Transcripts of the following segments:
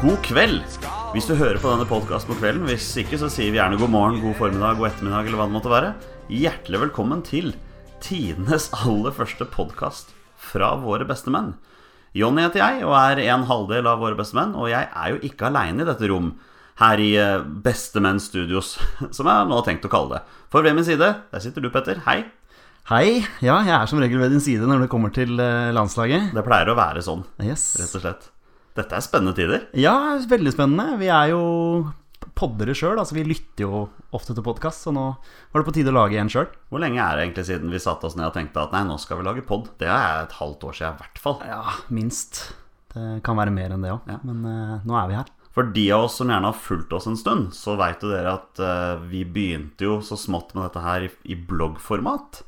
god kveld. Hvis du hører på denne podkasten på kvelden. Hvis ikke, så sier vi gjerne god morgen, god formiddag, god ettermiddag eller hva det måtte være. Hjertelig velkommen til tidenes aller første podkast fra våre beste menn. Jonny heter jeg og er en halvdel av våre beste menn, og jeg er jo ikke aleine i dette rom. Her i eh, Bestemenn Studios, som jeg nå har tenkt å kalle det. For ved min side, der sitter du, Petter. Hei. Hei. Ja, jeg er som regel ved din side når det kommer til eh, landslaget. Det pleier å være sånn, Yes. rett og slett. Dette er spennende tider. Ja, veldig spennende. Vi er jo poddere sjøl, altså vi lytter jo ofte til podkast, så nå var det på tide å lage en sjøl. Hvor lenge er det egentlig siden vi satte oss ned og tenkte at nei, nå skal vi lage pod? Det er et halvt år siden i hvert fall. Ja, minst. Det kan være mer enn det òg, Ja. men eh, nå er vi her. For de av oss som gjerne har fulgt oss en stund, så veit jo dere at eh, vi begynte jo så smått med dette her i, i bloggformat.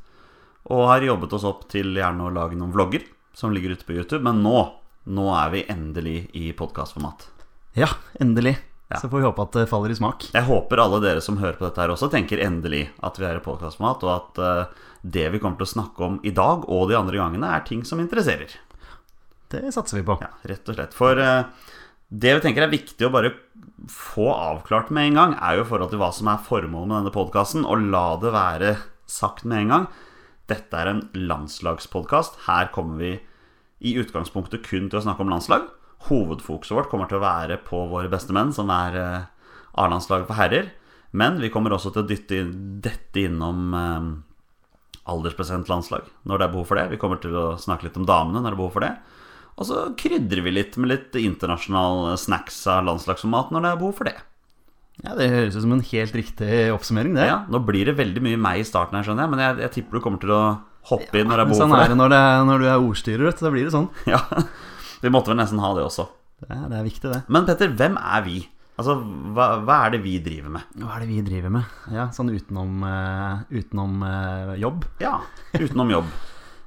Og har jobbet oss opp til gjerne å lage noen vlogger som ligger ute på YouTube. Men nå, nå er vi endelig i podkastformat. Ja, endelig. Ja. Så får vi håpe at det faller i smak. Jeg håper alle dere som hører på dette her også tenker endelig at vi er i podkastformat, og at eh, det vi kommer til å snakke om i dag og de andre gangene, er ting som interesserer. Det satser vi på. Ja, rett og slett. For eh, det vi tenker er viktig å bare få avklart med en gang, er jo i forhold til hva som er formålet med denne podkasten, og la det være sagt med en gang. Dette er en landslagspodkast. Her kommer vi i utgangspunktet kun til å snakke om landslag. Hovedfokuset vårt kommer til å være på våre beste menn, som er eh, A-landslaget for herrer. Men vi kommer også til å dytte inn, dette innom eh, aldersbestemt landslag når det er behov for det. Vi kommer til å snakke litt om damene når det er behov for det. Og så krydrer vi litt med litt internasjonal snacks av landslagsmat når det er behov for det. Ja, Det høres ut som en helt riktig oppsummering, det. Ja, Nå blir det veldig mye meg i starten her, skjønner jeg, men jeg, jeg tipper du kommer til å hoppe inn når det er Men behov sånn er for det det. når, det, når du er ordstyrer, vet du. Da blir det sånn. Ja, Vi måtte vel nesten ha det også. Det er, det er viktig, det. Men Petter, hvem er vi? Altså, hva, hva er det vi driver med? Hva er det vi driver med? Ja, Sånn utenom, eh, utenom eh, jobb. Ja, utenom jobb.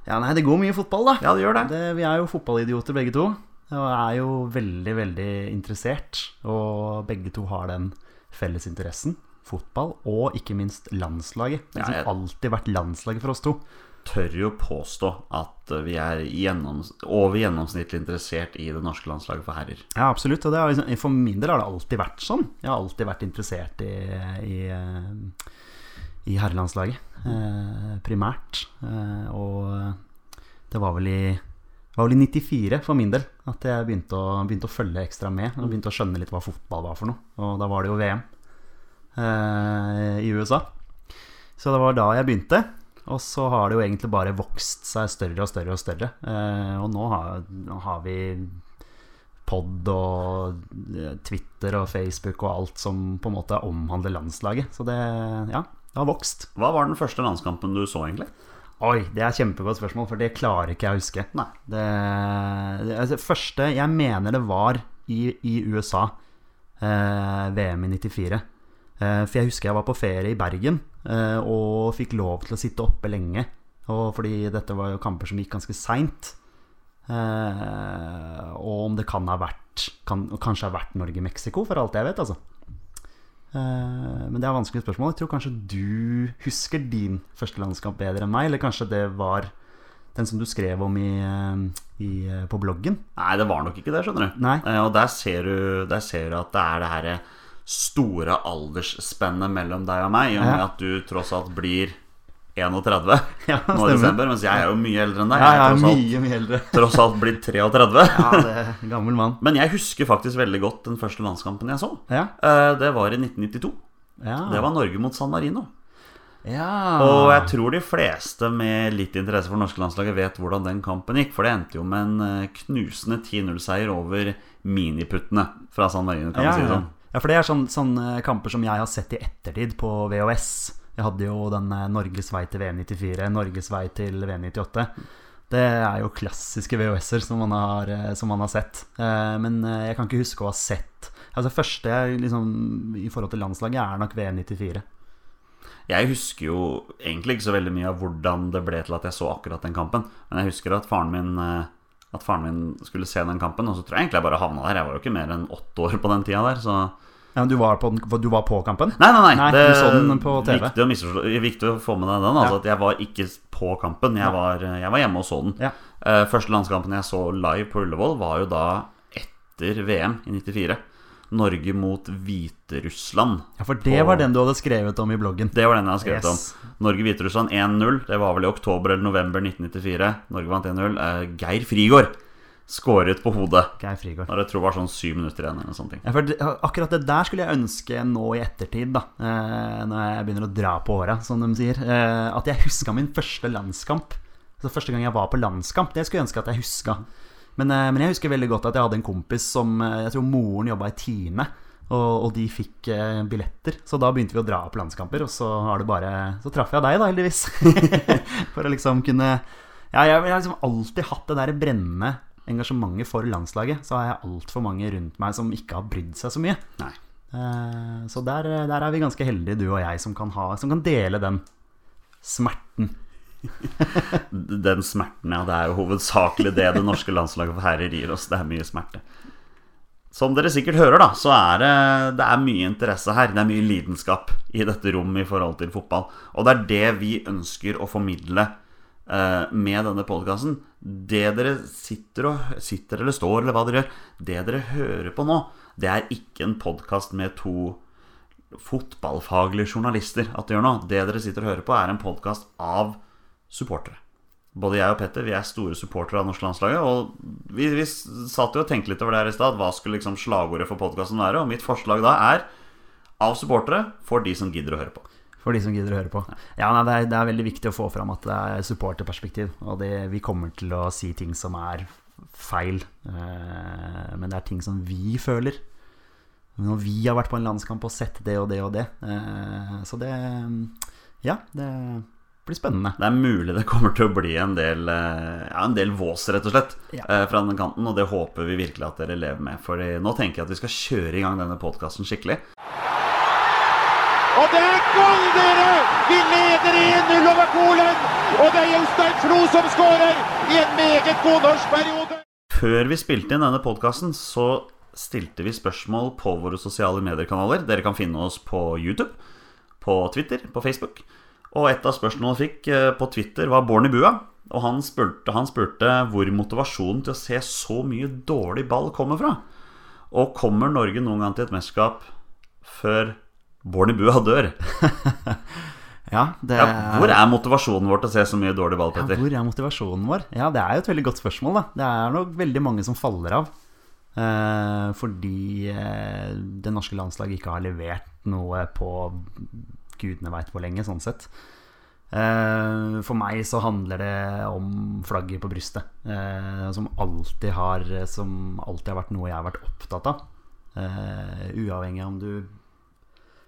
Ja, nei, det går mye fotball, da. Ja, det gjør det. Det, vi er jo fotballidioter begge to. Og er jo veldig, veldig interessert. Og begge to har den felles interessen. Fotball, og ikke minst landslaget. Det Ja, har jeg- liksom alltid vært landslaget for oss to. Tør jo påstå at vi er gjennoms over gjennomsnittlig interessert i det norske landslaget for herrer. Ja, absolutt. Og det har liksom, for min del har det alltid vært sånn. Jeg har alltid vært interessert i, i, eh, i herrelandslaget, eh, primært. Eh, og det var vel i det var vel i 94 for min del at jeg begynte å, begynte å følge ekstra med. Og begynte å skjønne litt hva fotball var for noe. Og da var det jo VM eh, i USA. Så det var da jeg begynte. Og så har det jo egentlig bare vokst seg større og større og større. Eh, og nå har, nå har vi pod og eh, Twitter og Facebook og alt som på en måte omhandler landslaget. Så det, ja, det har vokst. Hva var den første landskampen du så, egentlig? Oi, det er kjempegodt spørsmål, for det klarer ikke jeg å huske. Nei. Det, det altså, første Jeg mener det var i, i USA, eh, VM i 94. Eh, for jeg husker jeg var på ferie i Bergen eh, og fikk lov til å sitte oppe lenge. Og fordi dette var jo kamper som gikk ganske seint. Eh, og om det kan ha vært kan, Kanskje har vært Norge-Mexico, for alt jeg vet, altså. Eh, Men det er vanskelige spørsmål. Jeg tror kanskje du husker din første landskamp bedre enn meg. Eller kanskje det var den som du skrev om i, eh, i, eh, på bloggen? Nei, det var nok ikke det, skjønner du. Nei. Eh, Og der ser du, der ser du at det er det her eh, store aldersspennet mellom deg og meg, i og med Ja. at du tross alt blir 31 Ja, nå i desember, mens jeg er jo mye eldre enn deg. Ja, Jeg jeg er er tross alt, mye, mye eldre. tross alt blitt 33. Ja, det er en gammel mann. Men jeg husker faktisk veldig godt den første landskampen jeg så. Ja. Ah. Eh, Det var i 1992. ja. Det var Norge mot San Marino. ja. Og Ah. jeg tror de fleste med litt interesse for det norske landslaget vet hvordan den kampen gikk, for det endte jo med en eh, knusende 10-0-seier over miniputtene fra San Marino, kan ja, man si det ja. sånn. ja, for det er sånn- sånne kamper som jeg har sett i ettertid på VHS. Jeg hadde jo den eh, Norges vei til VM 94, Norges vei til VM 98. Det er jo klassiske VHS-er som, man har, eh, som man har sett. Eh, Men eh, jeg kan ikke huske å ha sett Altså det første jeg liksom, i forhold til landslaget er nok VM 94. Jeg husker jo egentlig ikke så veldig mye av hvordan det ble til at jeg så akkurat den kampen. Men jeg husker at faren min, eh, at faren min skulle se den kampen, og så tror jeg egentlig jeg bare havna der. Jeg var jo ikke mer enn åtte år på den tida der, så Ja, men du var på, den, du var på kampen? Nei, nei, nei. Nei, du så den på TV. Viktig å, misforstå, viktig å få med deg den. Altså, At jeg var ikke på kampen. Jeg var, jeg var hjemme og så den. Ja. Eh, første landskampen jeg så live på Ullevål, var jo da etter VM i 94. Norge mot Hviterussland. Ja, for det var den du hadde skrevet om i bloggen. Det var den jeg har skrevet om. Yes. Norge-Hviterussland 1-0. Det var vel i oktober eller november 1994. Norge vant 1-0. Eh, Geir Frigård skåret på hodet. Geir Frigård. Når jeg tror det var sånn syv minutter igjen. eller noe sånt. Ja, for det- akkurat det der skulle jeg ønske nå i ettertid, da. eh, Når jeg begynner å dra på åra, som de sier. eh, At jeg huska min første landskamp. Så Første gang jeg var på landskamp, det skulle jeg ønske at jeg huska. Men, eh, men jeg husker veldig godt at jeg hadde en kompis som eh, Jeg tror moren jobba i Time. Og, og de fikk eh, billetter, så da begynte vi å dra på landskamper. Og så, har det bare, så traff jeg deg, da, heldigvis. for å liksom kunne ja, jeg, jeg har liksom alltid hatt det der brennende engasjementet for landslaget. Så har jeg altfor mange rundt meg som ikke har brydd seg så mye. Nei. Eh, så der, der er vi ganske heldige, du og jeg, som kan, ha, som kan dele den smerten. Den smerten, ja. Det er jo hovedsakelig det det norske landslaget for herrer gir oss. Det er mye smerte. Som dere sikkert hører, da, så er det, det er mye interesse her. Det er mye lidenskap i dette rommet i forhold til fotball. Og det er det vi ønsker å formidle eh, med denne podkasten. Det dere sitter, og, sitter eller står, eller hva dere gjør, det dere hører på nå, det er ikke en podkast med to fotballfaglige journalister at det gjør noe. Det dere sitter og hører på, er en podkast av supportere. Både jeg og Petter vi er store supportere av norske landslaget. Og vi, vi satt jo og tenkte litt over det her i stad. Hva skulle liksom slagordet for podkasten være? Og mitt forslag da er av supportere for de som gidder å høre på. For de som gidder å høre på. Ja, nei, det, er, det er veldig viktig å få fram at det er supporterperspektiv. Og det, vi kommer til å si ting som er feil. eh, men det er ting som vi føler. Når vi har vært på en landskamp og sett det og det og det. eh, så det Ja, det blir spennende. Det er mulig det kommer til å bli en del, eh, ja, en del vås, rett og slett, Ja. eh, fra den kanten. Og det håper vi virkelig at dere lever med. For eh, nå tenker jeg at vi skal kjøre i gang denne podkasten skikkelig. Og det er gull, dere! Vi leder 1-0 over Polen! Og det er Jostein Flo som skårer i en meget god norsk periode. Før vi spilte inn denne podkasten, så stilte vi spørsmål på våre sosiale mediekanaler. Dere kan finne oss på YouTube, på Twitter, på Facebook. Og et av spørsmålene vi fikk eh, på Twitter, var Born i bua. Og han spurte, han spurte hvor motivasjonen til å se så mye dårlig ball kommer fra. Og kommer Norge noen gang til et mesterskap før Born i bua dør? Ja, det Ja, hvor er motivasjonen vår til å se så mye dårlig ball, Ja, Petter? hvor er motivasjonen vår? Ja, det er jo et veldig godt spørsmål, da. Det er nok veldig mange som faller av. eh, fordi eh, det norske landslaget ikke har levert noe på gudene veit hvor lenge, sånn sett. Eh, for meg så handler det om flagget på brystet. eh, som, alltid har, som alltid har vært noe jeg har vært opptatt av. Eh, uavhengig av om du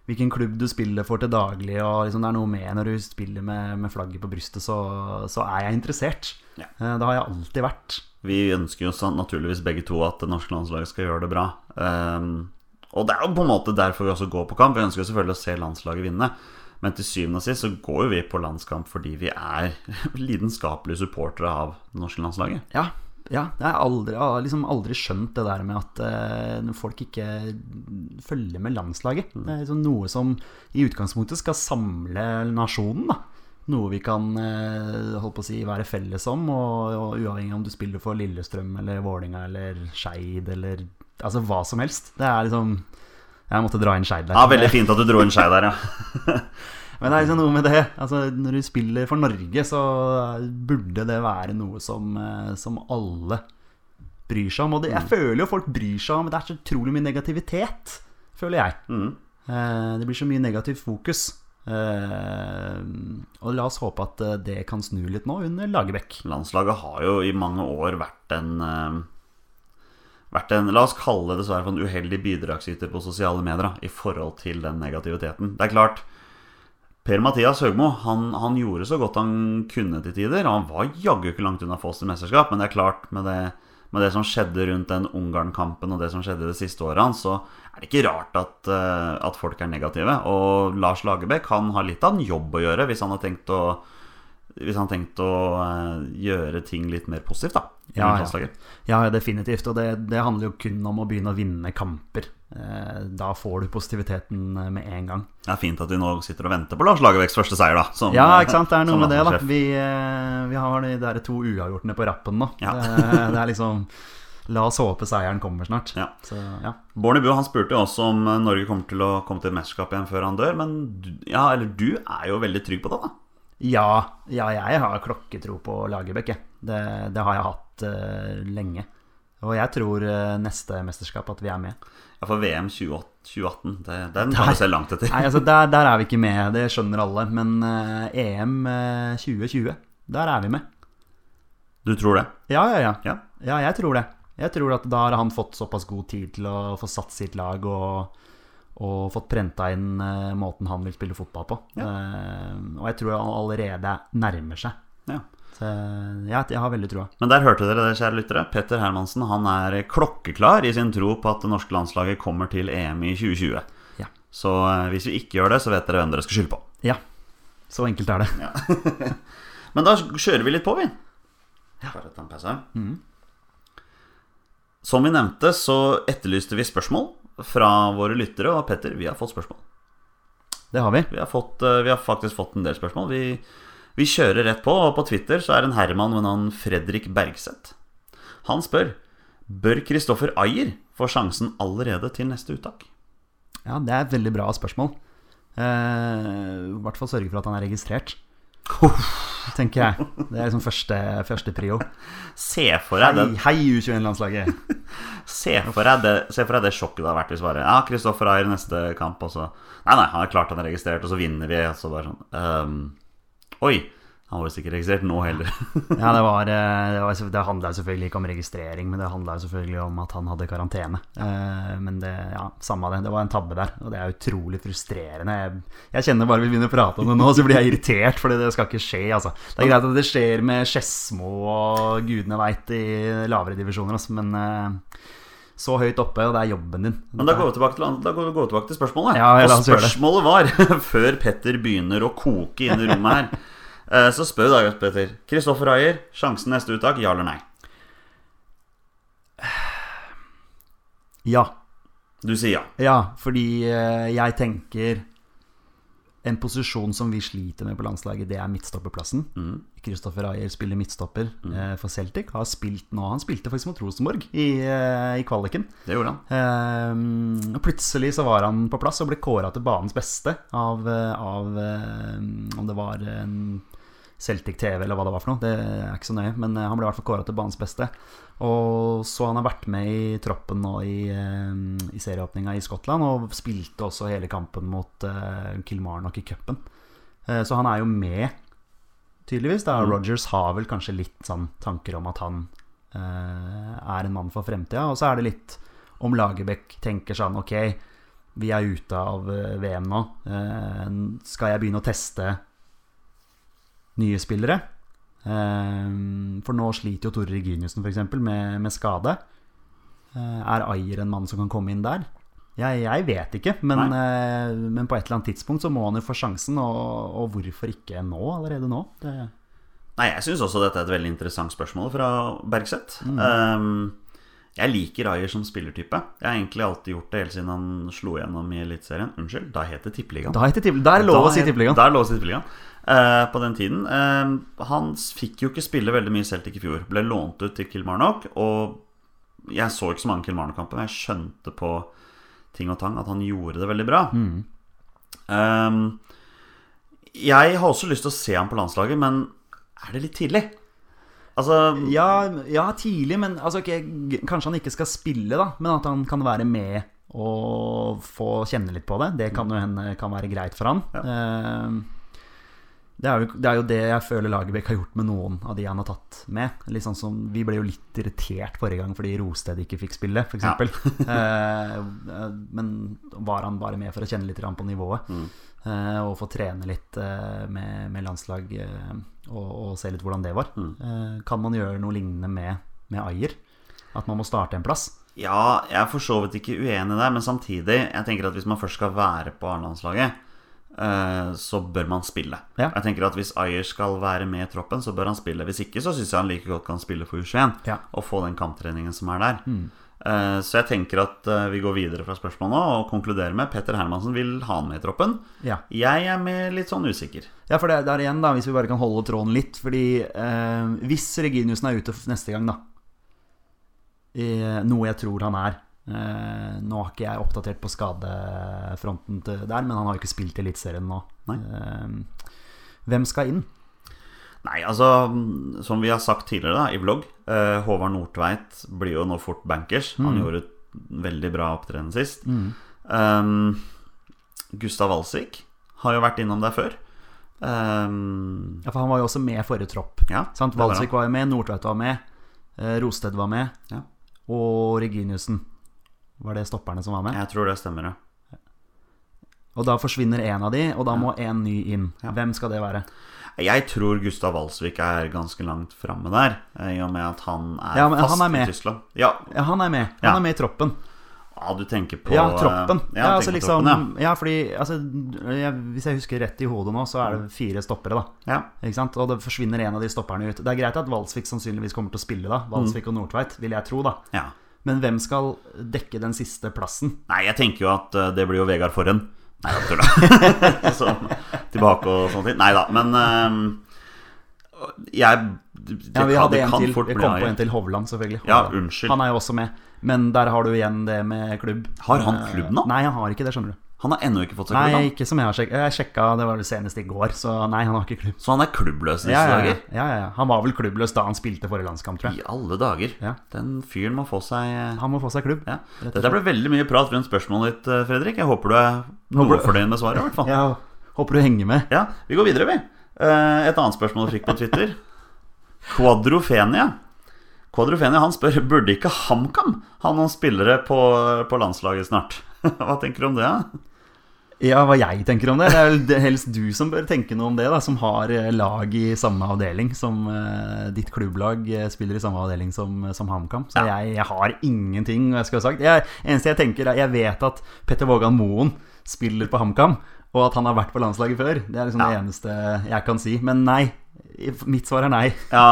hvilken klubb du spiller for til daglig. Og liksom det er noe med Når du spiller med, med flagget på brystet, så, så er jeg interessert. Ja. Eh, Det har jeg alltid vært. Vi ønsker jo sånn, naturligvis begge to at det norske landslaget skal gjøre det bra. Ehm, og det er jo på en måte derfor vi også går på kamp. Vi ønsker jo selvfølgelig å se landslaget vinne. Men til syvende og sist så går jo vi på landskamp fordi vi er lidenskapelige supportere av det norske landslaget. Ja, ja jeg har aldri, jeg har liksom aldri skjønt det der med at eh, folk ikke følger med landslaget. Mm. Det er liksom noe som i utgangspunktet skal samle nasjonen, da. Noe vi kan eh, holdt på å si, være felles om, og, og uavhengig av om du spiller for Lillestrøm eller Vålinga eller Skeid eller Altså hva som helst. Det er liksom Jeg måtte dra inn Skeid der. Ja, Veldig fint at du dro inn Skei der, ja. Men det er liksom noe med det. Altså, når du spiller for Norge, så burde det være noe som, eh, som alle bryr seg om. Og det, jeg føler jo folk bryr seg om, men det er så utrolig mye negativitet, føler jeg. Mhm. Eh, Det blir så mye negativt fokus. Eh, Og la oss håpe at eh, det kan snu litt nå under Lagerbäck. Mm. Landslaget har jo i mange år vært en ehm, vært en, La oss kalle det dessverre for en uheldig bidragsyter på sosiale medier da, i forhold til den negativiteten. Det er klart, Per-Mathias Høgmo han, han gjorde så godt han kunne til tider. og Han var jaggu ikke langt unna Foss til mesterskap, men det er klart, med det, med det som skjedde rundt den Ungarn-kampen og det som skjedde det siste året hans, så er det ikke rart at, eh, at folk er negative. Og Lars Lagerbäck han har litt av en jobb å gjøre hvis han har tenkt å, hvis han har tenkt å eh, gjøre ting litt mer positivt, da. i Ja, ja. landslaget. Ja, ja, definitivt. Og det, det handler jo kun om å begynne å vinne kamper. Eh, Da får du positiviteten eh, med en gang. Det er fint at vi nå sitter og venter på Lars Lagerbäcks første seier, da. som- Ja, ikke sant. Det er noe som med det, da. landslagssjef. Vi, eh, vi har de der to uavgjortene på rappen nå. Ja. Det, det er liksom La oss håpe seieren kommer snart. Ja. Så, ja. Bornebu han spurte jo også om eh, Norge kommer til å komme til et mesterskap igjen før han dør, men du, ja, eller du er jo veldig trygg på det, da. Ja, ja, jeg har klokketro på Lagerbäck. jeg. Det, det har jeg hatt eh, lenge. Og jeg tror eh, neste mesterskap at vi er med. Ja, for VM 28, 2018, det, den kan du se langt etter. Nei, altså der, der er vi ikke med, det skjønner alle. Men eh, EM eh, 2020, der er vi med. Du tror det? Ja, ja, ja. Ja. Ja, jeg tror det. Jeg tror at da har han fått såpass god tid til å få satt sitt lag og, og fått prenta inn eh, måten han vil spille fotball på. Eh, og jeg tror han allerede nærmer seg. ja. Så jeg, jeg har veldig trua. Men der hørte dere det, kjære lyttere. Petter Hermansen han er eh, klokkeklar i sin tro på at det norske landslaget kommer til EM i 2020. Ja. Så eh, hvis vi ikke gjør det, så vet dere hvem dere skal skylde på. ja. Så enkelt er det. Men da kjører vi litt på, vi. Bare ta en pause. Mhm. Som vi nevnte, så etterlyste vi spørsmål fra våre lyttere. Og Petter, vi har fått spørsmål. Det har vi. Vi har, fått, eh, vi har faktisk fått en del spørsmål. Vi, vi kjører rett på, og på Twitter så er det en Herman ved navn Fredrik Bergseth. Han spør Bør Kristoffer Ayer få sjansen allerede til neste uttak? Ja, Det er et veldig bra spørsmål. Eh, I hvert fall sørge for at han er registrert. Tenker jeg. Det er liksom første, første prio. Se for Hei, deg, den, hei U21-landslaget! se for deg, det, se for deg det sjokket det har vært hvis bare Ja, Kristoffer Ayer neste kamp, og så Nei, nei, han er klart han er registrert, og så vinner vi, og så bare sånn ehm, Oi, han var visst ikke registrert nå heller. Ja, det, var, eh, det, var, det handla selvfølgelig ikke om registrering, men det handla selvfølgelig om at han hadde karantene. Eh, Men det, ja, samme av det. Det var en tabbe der, og det er utrolig frustrerende. Jeg, jeg kjenner bare vi begynner å prate om det nå, så blir jeg irritert, for det skal ikke skje, altså. Det er greit at det skjer med Skedsmo og gudene veit i lavere divisjoner, altså, men eh, så høyt oppe, og det er jobben din. Men da går vi tilbake til, da går, går vi tilbake til spørsmålet. Ja, ja, la og oss gjøre det. spørsmålet var, før Petter begynner å koke inne i rommet her, eh, så spør da Petter Kristoffer Ayer, sjansen neste uttak, ja eller nei? Ja. Du sier ja. Ja, fordi eh, jeg tenker En posisjon som vi sliter med på landslaget, det er midtstopperplassen. Kristoffer Ayer spiller midtstopper eh, for Celtic. Har spilt nå. Han spilte faktisk mot Rosenborg i, eh, i kvaliken. Det gjorde han. Ehm, og plutselig så var han på plass og ble kåra til banens beste av, eh, av eh, Om det var en Celtic TV eller hva det var for noe, det er ikke så nøye. Men eh, han ble i hvert fall kåra til banens beste. Og så han har vært med i troppen nå i, eh, i serieåpninga i Skottland, og spilte også hele kampen mot eh, Kilmarnock i cupen. Eh, Så han er jo med, tydeligvis. Da Rogers har vel kanskje litt sånn tanker om at han eh, er en mann for fremtida. Og så er det litt om Lagerbäck tenker sånn Ok, vi er ute av eh, VM nå. Eh, skal jeg begynne å teste nye spillere? Eh, for nå sliter jo Tore Reginiussen f.eks. Med, med skade. Eh, er Ayer en mann som kan komme inn der? Jeg, jeg vet ikke, men, eh, men på et eller annet tidspunkt så må han jo få sjansen. Og, og hvorfor ikke nå, allerede nå? Det, Nei, jeg syns også dette er et veldig interessant spørsmål fra Bergseth. Ehm, jeg liker Ayer som spillertype. Jeg har egentlig alltid gjort det helt siden han slo gjennom i Eliteserien. Unnskyld, da het det Tippeligaen. da heter tipp- da er det lov å si Da er- tippeligaen. Da er det lov å si Tippeligaen. Eh, på den tiden. Eh, han fikk jo ikke spille veldig mye Celtic i fjor. Ble lånt ut til Kilmarnock, og jeg så ikke så mange Kilmarnock-kamper, men jeg skjønte på ting og tang at han gjorde det veldig bra. Eh, jeg har også lyst til å se ham på landslaget, men er det litt tidlig? Altså Ja, ja, tidlig, men altså, ok, g- kanskje han ikke skal spille, da. Men at han kan være med og få kjenne litt på det. Det kan jo hende kan være greit for han. Eh, det, er jo, det er jo det jeg føler Lagerbäck har gjort med noen av de han har tatt med. Litt sånn som, vi ble jo litt irritert forrige gang fordi Rosted ikke fikk spille, f.eks. Ja. eh, eh, men var han bare med for å kjenne litt grann på nivået? Eh, og få trene litt eh, med, med landslag eh, og, og se litt hvordan det var. Eh, kan man gjøre noe lignende med, med Ayer? At man må starte en plass? Ja, jeg er for så vidt ikke uenig der, men samtidig Jeg tenker at hvis man først skal være på A-landslaget, eh, så bør man spille. Ja. Jeg tenker at Hvis Ayer skal være med i troppen, så bør han spille. Hvis ikke, så syns jeg han like godt kan spille for U21 Ja. Mm. og få den kamptreningen som er der. Eh, Så jeg tenker at eh, vi går videre fra spørsmålet nå og konkluderer med Petter Hermansen vil ha han med i troppen. Ja. Jeg er med litt sånn usikker. Ja, for det der igjen, da, hvis vi bare kan holde tråden litt. Fordi eh, hvis Reginiussen er ute f- neste gang, da i noe jeg tror han er. Eh, nå har ikke jeg oppdatert på skadefronten til der, men han har jo ikke spilt i Eliteserien nå. Nei. Eh, hvem skal inn? Nei, altså, mm, som vi har sagt tidligere da, i blogg, eh, Håvard Nordtveit blir jo nå fort bankers. Mm. Han gjorde et veldig bra opptreden sist. Um, Gustav Walsvik har jo vært innom der før. Um, Ja, for han var jo også med i forrige tropp. ja, Sant? det var Walsvik var jo med, Nordtveit var med, eh, Rosted var med, Ja. og Reginiussen. Var det stopperne som var med? han. Jeg tror det stemmer, ja. Og da forsvinner én av de, og da må én ny inn. Ja. Hvem skal det være? Jeg tror Gustav Walsvik er ganske langt framme der, eh, i og med at han er Ja, men fast han er med. i Tyskland. Ja, Ja, han er med. Han Ja. er med i troppen. ja, du tenker på Ja, eh, troppen. Ja, Ja, du altså tenker på liksom, troppen, ja. fordi altså, jeg, Hvis jeg husker rett i hodet nå, så er det fire stoppere, da. ja. ja. Ikke sant? Og det forsvinner en av de stopperne ut. Det er greit at Valsvik sannsynligvis kommer til å spille, da. Mm. Valsvik og Nordtveit, vil jeg tro, da. ja. Men hvem skal dekke den siste plassen? Nei, jeg tenker jo at eh, det blir jo Vegard Forhen. Nei, jeg tuller. Sånn, tilbake og sånne ting. Nei da, men eh, jeg det, Ja, vi kan- hadde det en kan til. fort Vi bli kom Ayer. på en til Hovland, selvfølgelig. Ja, Hovland. unnskyld. Han er jo også med. Men der har du igjen det med klubb. Har han Eh, klubb nå? Nei, han har ikke det, skjønner du. Han har ennå ikke fått seg klubb, Nei, han. ikke som jeg har sjekka. Jeg sjekka, det var vel senest i går, så nei, han har ikke klubb. så han er klubbløs i disse Ja, ja, ja. dager. ja, ja, ja. Han var vel klubbløs da han spilte forrige landskamp, tror jeg. I alle dager. Ja. Den fyren må få seg eh, Han må få seg klubb. ja. Dette ble veldig mye prat rundt spørsmålet ditt, eh, Fredrik. Jeg håper du er noe fornøyd med svaret, i hvert fall. Ja, Håper du henger med. Ja, vi går videre, vi. Eh, Et annet spørsmål jeg fikk på Twitter. Quadrofenia. Quadrofenia han spør burde ikke HamKam ha noen spillere på, på landslaget snart. Hva tenker du om det? da? Ja, hva jeg tenker om det. Det er vel det- helst du som bør tenke noe om det, da, som har eh, lag i samme avdeling som eh, ditt klubblag eh, spiller i samme avdeling som, eh, som HamKam. Så jeg, jeg har ingenting jeg skulle ha sagt. Jeg, eneste jeg tenker, er jeg vet at Petter Vågan Moen spiller på HamKam, og at han har vært på landslaget før. Det er liksom det eneste jeg kan si. Men nei. I- Mitt svar er nei. Ja,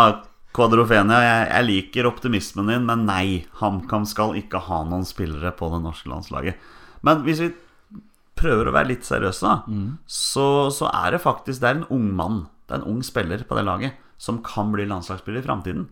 Quadrofenia, jeg, jeg liker optimismen din, men nei. HamKam skal ikke ha noen spillere på det norske landslaget. Men hvis vi prøver å være litt seriøse, da, så, så er det faktisk Det er en ung mann, det er en ung spiller på det laget, som kan bli landslagsspiller i framtiden.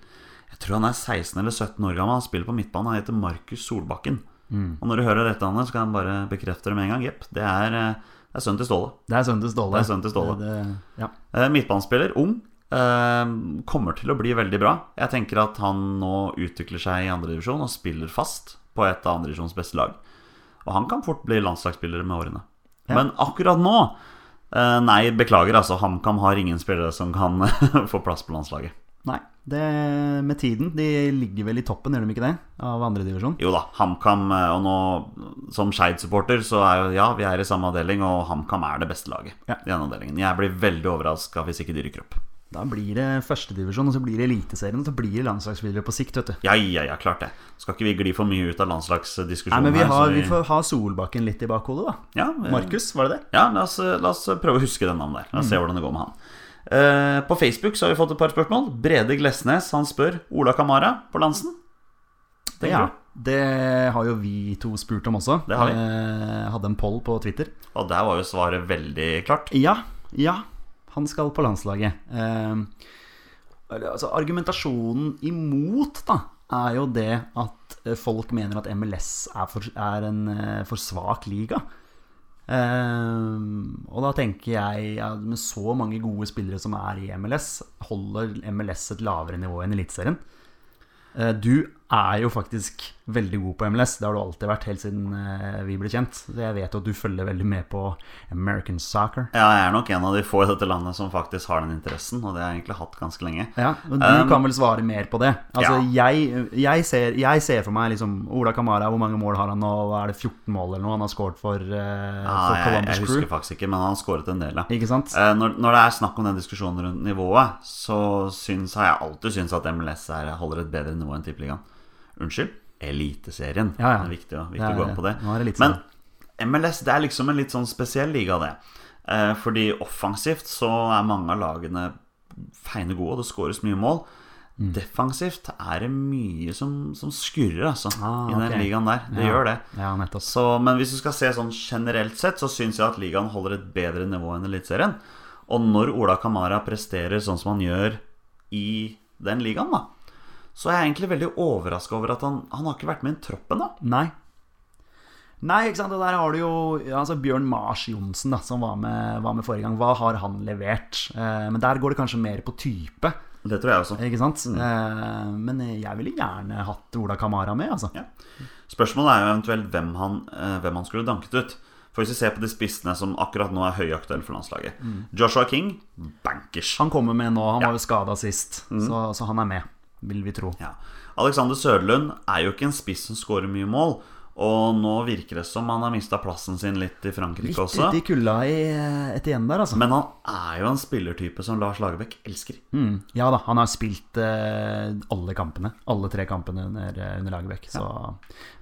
Jeg tror han er 16 eller 17 år gammel. Han spiller på midtbanen. Han heter Markus Solbakken. Og når du hører dette, Anders, så kan han bare bekrefte det med en gang. Jepp, det er, eh, det er sønnen til Ståle. Det er sønnen til Ståle. Det er sønnen til Ståle. Det- det- ja. Eh, Midtbanespiller, ung. eh, Kommer til å bli veldig bra. Jeg tenker at han nå utvikler seg i andredivisjon og spiller fast på et av andredivisjons beste lag. Og han kan fort bli landslagsspiller med årene. Men akkurat nå eh, Nei, beklager, altså. HamKam har ingen spillere som kan få plass på landslaget. Nei. Det med tiden. De ligger vel i toppen, gjør de ikke det? Av andredivisjon? Jo da, HamKam eh, Og nå som Skeid-supporter, så er jo ja, vi er i samme avdeling, og HamKam er det beste laget Ja. i denne avdelingen. Jeg blir veldig overraska hvis ikke de rykker opp. Da blir det førstedivisjon, og så blir det Eliteserien, og så blir det landslagsspillere på sikt, vet du. Ja, ja, ja, klart det. Skal ikke vi gli for mye ut av Nei, landslagsdiskusjonen men vi, her, så har, vi får ha Solbakken litt i bakhodet, da. ja, vi- Markus, Mm. var det det? Ja, la oss, eh, la oss prøve å huske det navnet der. La oss se hvordan det går med han. Eh, på Facebook så har vi fått et par spørsmål. Brede Glesnes han spør Ola Kamara på Lansen. Tenker Ja. du? Det har jo vi to spurt om også. Det har vi. Eh, hadde en poll på Twitter. Og der var jo svaret veldig klart. Ja, ja. Han skal på landslaget. Eh, altså, argumentasjonen imot, da, er jo det at eh, folk mener at MLS er, for, er en eh, for svak liga. Eh, og da tenker jeg ja, med så mange gode spillere som er i MLS, holder MLS et lavere nivå enn Eliteserien. Eh, Du er jo faktisk veldig god på MLS. Det har du alltid vært helt siden eh, vi ble kjent. Så jeg vet jo at du følger veldig med på American soccer. Ja, jeg er nok en av de få i dette landet som faktisk har den interessen, og det har jeg egentlig hatt ganske lenge. Ja, men Du Um, kan vel svare mer på det. Altså, jeg, jeg, ser, jeg ser for meg liksom Ola Kamara, hvor mange mål har han nå? Hva Er det 14 mål eller noe han har scoret for, eh, Ah, Ja, for jeg, Columbus jeg Crew? husker faktisk ikke, men han skåret en del, ja. Ikke sant? Eh, Når, når det er snakk om den diskusjonen rundt nivået, så syns, har jeg alltid syntes at MLS er, holder et bedre nivå enn Tippeligaen. Unnskyld? Eliteserien. Ja, ja. Det er viktig, å- viktig Det er- å gå inn på det. nå er det Men Eliteserien. MLS det er liksom en litt sånn spesiell liga, det. Eh, Fordi offensivt så er mange av lagene feine gode, og det skåres mye mål. Mm. Defensivt er det mye som, som skurrer, altså, Ah, i den ok. ligaen der. Det Ja. gjør det. Ja, nettopp. Så, men hvis du skal se sånn generelt sett, så syns jeg at ligaen holder et bedre nivå enn Eliteserien. Og når Ola Kamara presterer sånn som han gjør i den ligaen, da, Så jeg er egentlig veldig overraska over at han, han har ikke vært med i troppen, da. Nei. Nei, ikke sant. Og der har du jo ja, altså Bjørn Mars Johnsen, da, som var med, var med forrige gang. Hva har han levert? Eh, men der går det kanskje mer på type, Det tror jeg også. ikke sant. Eh, men jeg ville gjerne hatt Ola Kamara med, altså. Ja. Spørsmålet er jo eventuelt hvem han, eh, hvem han skulle danket ut. For Hvis vi ser på de spissene som akkurat nå er høyaktuelle for landslaget Joshua King, bankers. Han kommer med nå. Han var jo skada sist, så, så han er med, vil vi tro. Mm. Ja. Alexander Sørlund er jo ikke en spiss som skårer mye mål. Og nå virker det som han har mista plassen sin litt i Frankrike Litt også. ute i kulda i eh, et igjen der, altså. Men han er jo en spillertype som Lars Lagerbäck elsker. Mm, ja da, han har spilt eh, alle kampene. Alle tre kampene under, eh, under Lagerbäck. Så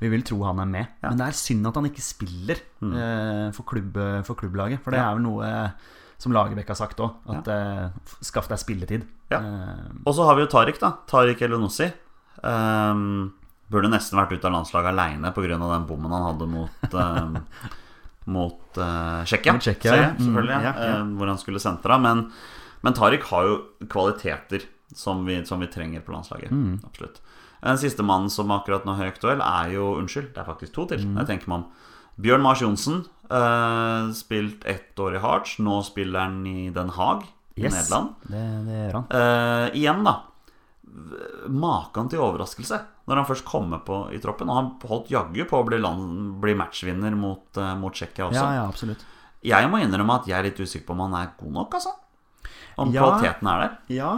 vi vil tro han er med. Men det er synd at han ikke spiller Mm. eh, for, klubb, for klubblaget. For det er vel noe eh, som Lagerbäck har sagt òg. At eh, f- skaff deg spilletid. Ja. Eh, Og så har vi jo Tariq, da. Tariq Elionossi. Um, burde nesten vært ute av landslaget aleine pga. den bommen han hadde mot um, Mot eh, Tsjekkia, Mot Tsjekkia, ser jeg, ja. Mm, selvfølgelig. ja, ja. eh, hvor han skulle sentra. Men, men Tariq har jo kvaliteter som vi, som vi trenger på landslaget. Mm. Absolutt. Den siste mannen som akkurat nå er høyaktuell, er jo Unnskyld, det er faktisk to til. Mm. Jeg tenker meg om. Bjørn Mars Johnsen. eh, spilt ett år i Hearts. Nå spiller han i Den Haag i yes, Nederland. det, det gjør han. Eh, igjen, da. Maken til overraskelse når han først kommer på i troppen. Og han holdt jaggu på å bli, land, bli matchvinner mot, uh, mot Tsjekkia også. Ja, ja, absolutt. Jeg må innrømme at jeg er litt usikker på om han er god nok, altså. Om Ja. kvaliteten er der. Ja.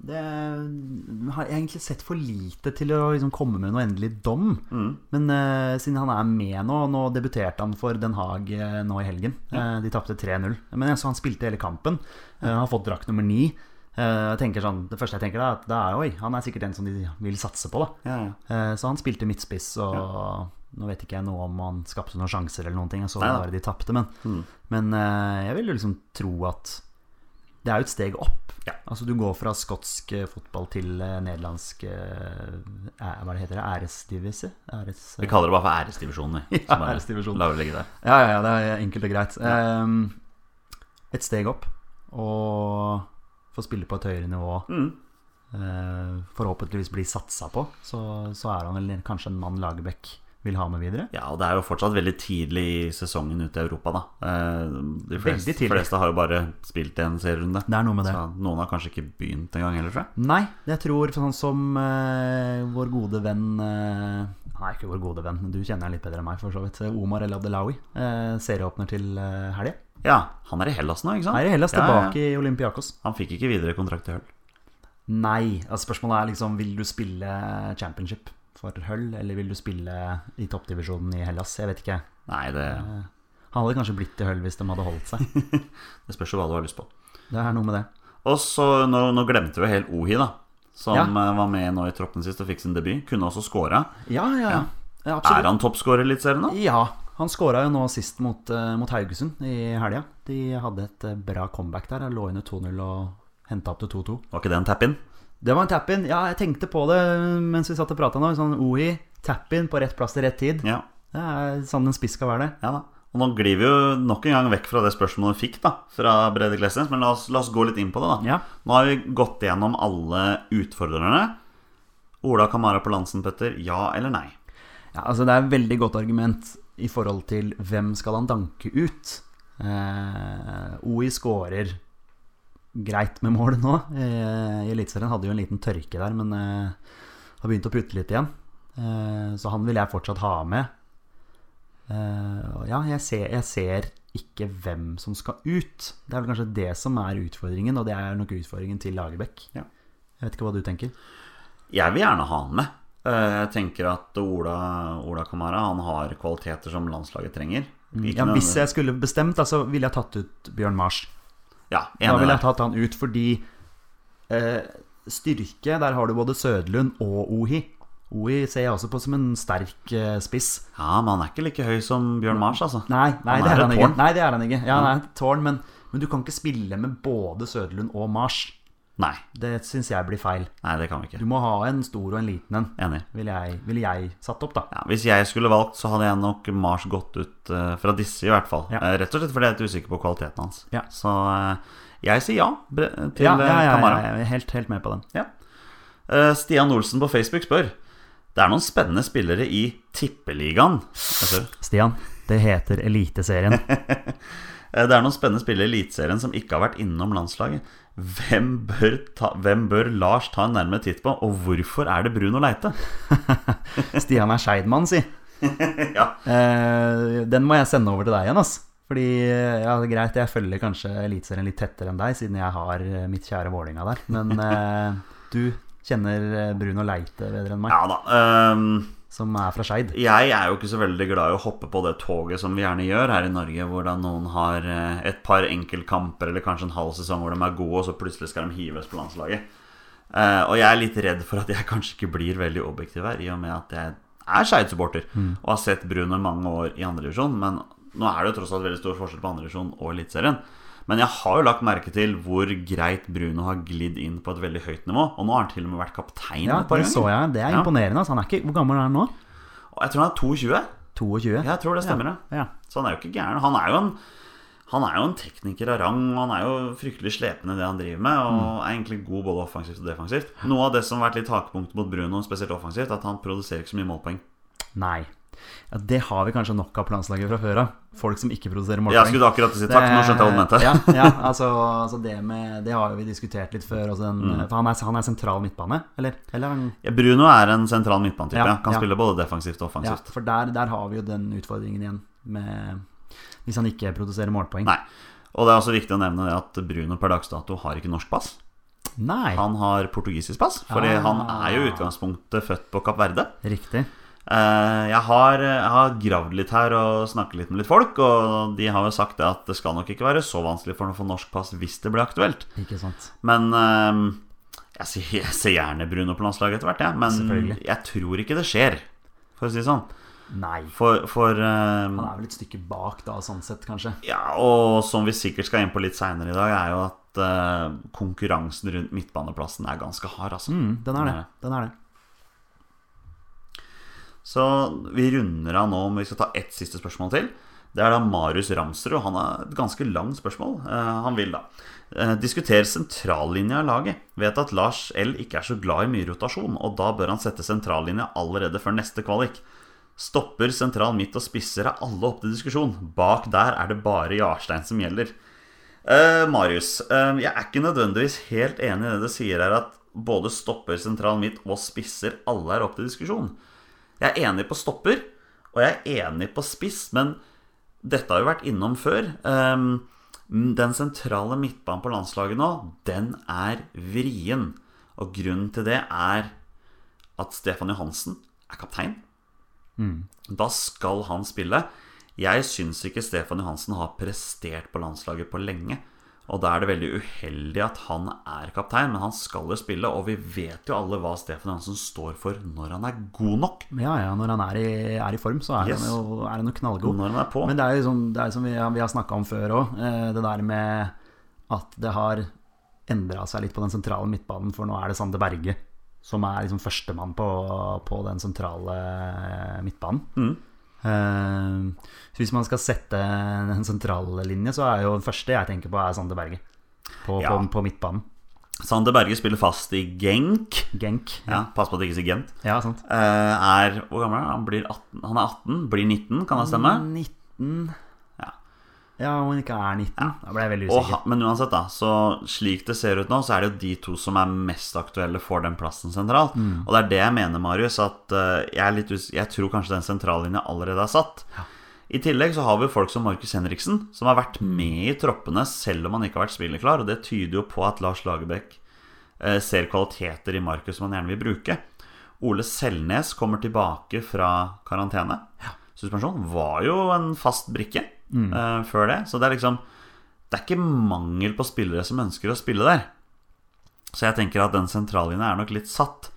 Det jeg har egentlig sett for lite til å liksom komme med noe endelig dom. Mm. Men eh, siden han er med nå Nå debuterte han for Den Haag eh, nå i helgen. Eh, de tapte 3-0. Men jeg så han spilte hele kampen. Eh, har fått drakt nummer ni. Eh, jeg tenker sånn, det første jeg tenker, er at det er, oi, han er sikkert en som de vil satse på. da Ja, ja. Eh, Så han spilte midtspiss, og nå vet ikke jeg noe om han skapte noen sjanser eller noen ting. Jeg så Neida. bare de tapte, men, Mm. men eh, jeg vil jo liksom tro at det er jo et steg opp. Ja. Altså Du går fra skotsk eh, fotball til eh, nederlandsk eh, æ- Hva det heter det? Æresdivise? Æres... eh, Vi kaller det bare for æresdivisjonen. vi. Så bare æresdivisjon. lar vi ligge der. Ja, ja, ja, det er enkelt og greit. Ehm, et steg opp, og få spille på et høyere nivå. eh, forhåpentligvis bli satsa på. Så, så er han vel kanskje en mann Lagerbäck vil ha med videre. Ja, og det er jo fortsatt veldig tidlig i sesongen ute i Europa, da. Eh, De fleste, Veldig tidlig. fleste har jo bare spilt en serierunde. Det er noe med det. Så noen har kanskje ikke begynt engang heller, tror jeg. Nei, jeg tror sånn som eh, vår gode venn eh, Han er ikke vår gode venn, men du kjenner han litt bedre enn meg, for så vidt. Omar El Abdelawi. eh, serieåpner til uh, helga. Ja, han er i Hellas nå, ikke sant? Er i Hellas Ja, ja, ja. tilbake i Olympiakos. Han fikk ikke videre kontrakt i Hull. Nei. Altså spørsmålet er liksom Vil du spille championship for Hull, eller vil du spille i toppdivisjonen i Hellas? Jeg vet ikke. Nei, det, Han hadde kanskje blitt i Hull hvis de hadde holdt seg. det spørs jo hva du har lyst på. Det er noe med det. Og så, nå, nå glemte vi jo helt Ohi, da. Som Ja. eh, var med nå i troppen sist og fikk sin debut. Kunne også scora. Ja, ja, ja. ja Er absolutt. han toppscorer i Eliteserien nå? Ja. Han skåra jo nå sist mot, eh, mot Haugesund i helga. De hadde et eh, bra comeback der. Han Lå under 2-0 og henta opp til 2-2. Var ikke det en tap-in? Det var en tap-in. Ja, jeg tenkte på det mens vi satt og prata nå. Sånn OI, tap-in på rett plass til rett tid. Ja. Det er sånn en spiss skal være, det. ja da. Og nå glir vi jo nok en gang vekk fra det spørsmålet vi fikk da, fra Brede Glesnes, men la oss, la oss gå litt inn på det, da. Ja. Nå har vi gått gjennom alle utfordrerne. Ola Kamara på Lansen, Petter. Ja eller nei? Ja, altså Det er et veldig godt argument i forhold til hvem skal han danke ut. Eh, OI skårer greit med mål nå. Eh, I Eliteserien hadde jo en liten tørke der, men eh, har begynt å putte litt igjen. Eh, så han vil jeg fortsatt ha med. Eh, og ja, jeg ser, jeg ser ikke hvem som skal ut. Det er vel kanskje det som er utfordringen, og det er nok utfordringen til Lagerbäck. Ja. Jeg vet ikke hva du tenker. Jeg vil gjerne ha han med. Eh, Jeg tenker at Ola, Ola Kamara han har kvaliteter som landslaget trenger. Ikke Ja, hvis nødvendigvis- jeg skulle bestemt, da, så ville jeg tatt ut Bjørn Mars. ja, Da enig ville der. jeg tatt han ut fordi eh, styrke Der har du både Sødlund og Ohi. Ohi ser jeg også på som en sterk eh, spiss. Ja, men han er ikke like høy som Bjørn Mars, altså. Nei, nei, Han det, er er et han ikke. tårn. Mm. nei det er han ikke. Ja, han er et tårn, men, men du kan ikke spille med både Sødlund og Mars. Nei, Det syns jeg blir feil. nei det kan vi Du ikke. må ha en stor og en liten en, Enig. ville jeg, vil jeg satt opp, da. Ja, hvis jeg skulle valgt, så hadde jeg nok Mars gått ut eh, fra disse, i hvert fall. Ja. Eh, rett og slett fordi jeg er litt usikker på kvaliteten hans. Ja. Så eh, jeg sier ja bre- til Ja, eh, ja, ja, ja, Kamara. jeg er helt, helt med på den. Ja. Eh, Stian Olsen på Facebook spør Det er noen spennende spillere i tippeligaen. Jeg ser. Stian, det heter Eliteserien. Eh, Det er noen spennende spillere i Eliteserien som ikke har vært innom landslaget. Hvem bør, ta, hvem bør Lars ta en nærmere titt på, og hvorfor er det Bruno Leite? Stian er Skeidmann, si. Ja. Eh, den må jeg sende over til deg igjen, ass. Fordi eh, ja, det er greit, jeg følger kanskje Eliteserien litt tettere enn deg, siden jeg har eh, mitt kjære Vålinga der. Men eh, du kjenner eh, Bruno Leite bedre enn meg, Ja da. ehm, som er fra Skeid. Jeg er jo ikke så veldig glad i å hoppe på det toget som vi gjerne gjør her i Norge, hvor da noen har eh, et par enkeltkamper eller kanskje en halv sesong hvor de er gode, og så plutselig skal de hives på landslaget. Eh, og jeg er litt redd for at jeg kanskje ikke blir veldig objektiv her, i og med at jeg er Skeid-supporter Mm. og har sett Bruno mange år i andredivisjon. Men nå er det jo tross alt veldig stor forskjell på andredivisjon og Eliteserien. Men jeg har jo lagt merke til hvor greit Bruno har glidd inn på et veldig høyt nivå. Og nå har han til og med vært kaptein. Ja, et par det ganger. så jeg. Det er Ja. imponerende. ass. Han er ikke, hvor gammel er han nå? Og jeg tror han er 22. 22? Jeg tror det stemmer, ja. Ja. Så han er jo ikke gæren. Han er jo en, han er jo en tekniker av rang, og han er jo fryktelig slepen i det han driver med, og Mm. er egentlig god både offensivt og defensivt. Noe av det som har vært litt hakepunktet mot Bruno, spesielt offensivt, at han produserer ikke så mye målpoeng. Nei. Ja, det har vi kanskje nok av på landslaget fra før av. Folk som ikke produserer målpoeng. Jeg skulle akkurat si takk, nå skjønte jeg hva du mente. ja, ja, altså, altså det, med, det har jo vi diskutert litt før. Altså den, Mm. For han er, han er sentral midtbane, eller? eller han, Ja, Bruno er en sentral midtbanetype. Ja, Ja, kan ja. spille både defensivt og ja, offensivt. for der, der har vi jo den utfordringen igjen, med, hvis han ikke produserer målpoeng. Nei. Og det er også viktig å nevne det at Bruno per dags dato har ikke norsk pass. Nei, Han har portugisisk pass, fordi Ah. han er jo i utgangspunktet født på Kapp Verde. Riktig. Eh, Jeg har, jeg har gravd litt her og snakket litt med litt folk, og de har jo sagt det at det skal nok ikke være så vanskelig for ham å få norsk pass hvis det blir aktuelt. Ikke sant. Men eh, jeg ser, jeg ser gjerne Bruno på landslaget etter hvert, jeg. Men Selvfølgelig. jeg tror ikke det skjer, for å si det sånn. Nei. For, for eh, Han er vel et stykke bak, da, sånn sett, kanskje. ja, og som vi sikkert skal inn på litt seinere i dag, er jo at eh, konkurransen rundt midtbaneplassen er ganske hard, altså. Mm, den er det. Den er det. Så vi runder av nå, men vi skal ta ett siste spørsmål til. Det er da Marius Ramsrud. Han har et ganske langt spørsmål. Eh, han vil da eh, diskutere sentrallinja i laget. Vet at Lars L ikke er så glad i mye rotasjon, og da bør han sette sentrallinja allerede før neste kvalik. Stopper sentral midt og spisser er alle opp til diskusjon. Bak der er det bare Jarstein som gjelder. Eh, Marius, eh, jeg er ikke nødvendigvis helt enig i det du sier her, at både stopper sentral midt og spisser alle er opp til diskusjon. Jeg er enig på stopper, og jeg er enig på spiss, men dette har jo vært innom før. Ehm, Den sentrale midtbanen på landslaget nå, den er vrien. Og grunnen til det er at Stefan Johansen er kaptein. Da skal han spille. Jeg syns ikke Stefan Johansen har prestert på landslaget på lenge. Og da er det veldig uheldig at han er kaptein, men han skal jo spille. Og vi vet jo alle hva Stefan Johansen står for når han er god nok. Ja, ja, når han er i, er i form, så er Yes. han jo, er han jo knallgod. Når han er på. Men det er jo sånn, det er jo som vi, har- vi har snakka om før òg, det der med at det har endra seg litt på den sentrale midtbanen, for nå er det Sander Berge som er liksom førstemann på, på den sentrale midtbanen. Mm. Eh, så hvis man skal sette en sentral linje, så er jo den første jeg tenker på, er Sander Berge. På, Ja. på, på midtbanen. Sander Berge spiller fast i Genk. Genk. Ja, pass på at det ikke sier Gent. Ja, sant. Eh, er Hvor gammel er han? Han, blir 18, han er 18, blir 19, kan det stemme? 19 Ja. Ja, om han ikke er 19. Da ble jeg veldig Og, usikker. han- men uansett, da. Så slik det ser ut nå, så er det jo de to som er mest aktuelle for den plassen sentralt. Mm. Og det er det jeg mener, Marius, at eh, jeg, er litt us jeg tror kanskje den sentrallinja allerede er satt. I tillegg så har vi jo folk som Markus Henriksen, som har vært med i troppene selv om han ikke har vært spilleklar, og det tyder jo på at Lars Lagerbäck eh, ser kvaliteter i Markus som han gjerne vil bruke. Ole Selnes kommer tilbake fra karantene. Suspensjon var jo en fast brikke Mm. eh, før det, så det er liksom Det er ikke mangel på spillere som ønsker å spille der. Så jeg tenker at den sentrallinja er nok litt satt.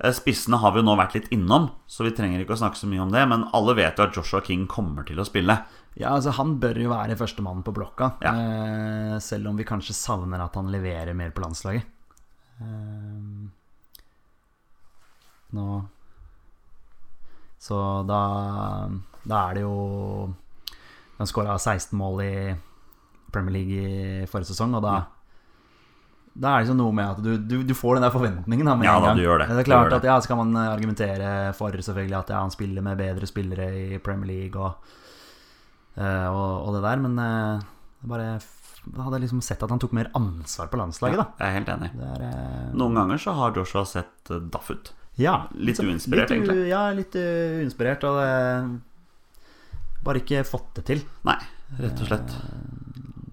Eh, Spissene har vi jo nå vært litt innom, så vi trenger ikke å snakke så mye om det. Men alle vet jo at Joshua King kommer til å spille. Ja, altså Han bør jo være førstemann på blokka, Ja. eh, selv om vi kanskje savner at han leverer mer på landslaget. Eh, nå Så da, da er det jo Han skåra 16 mål i Premier League i forrige sesong, og da Da er det liksom noe med at du, du, du får den der forventningen. Da, med Ja, en da, gang. du gjør det. Det er Du klart gjør det. at ja, skal man argumentere for selvfølgelig at ja, han spiller med bedre spillere i Premier League og, eh, og, og det der, men eh, jeg bare f- hadde liksom sett at han tok mer ansvar på landslaget, da. Jeg er helt enig. Det er, eh, Noen ganger så har Joshua sett eh, daff ut. ja, Litt så- uinspirert, litt u- egentlig. Ja, litt uh, uinspirert. Og det, bare ikke fått det til. Nei, rett og slett.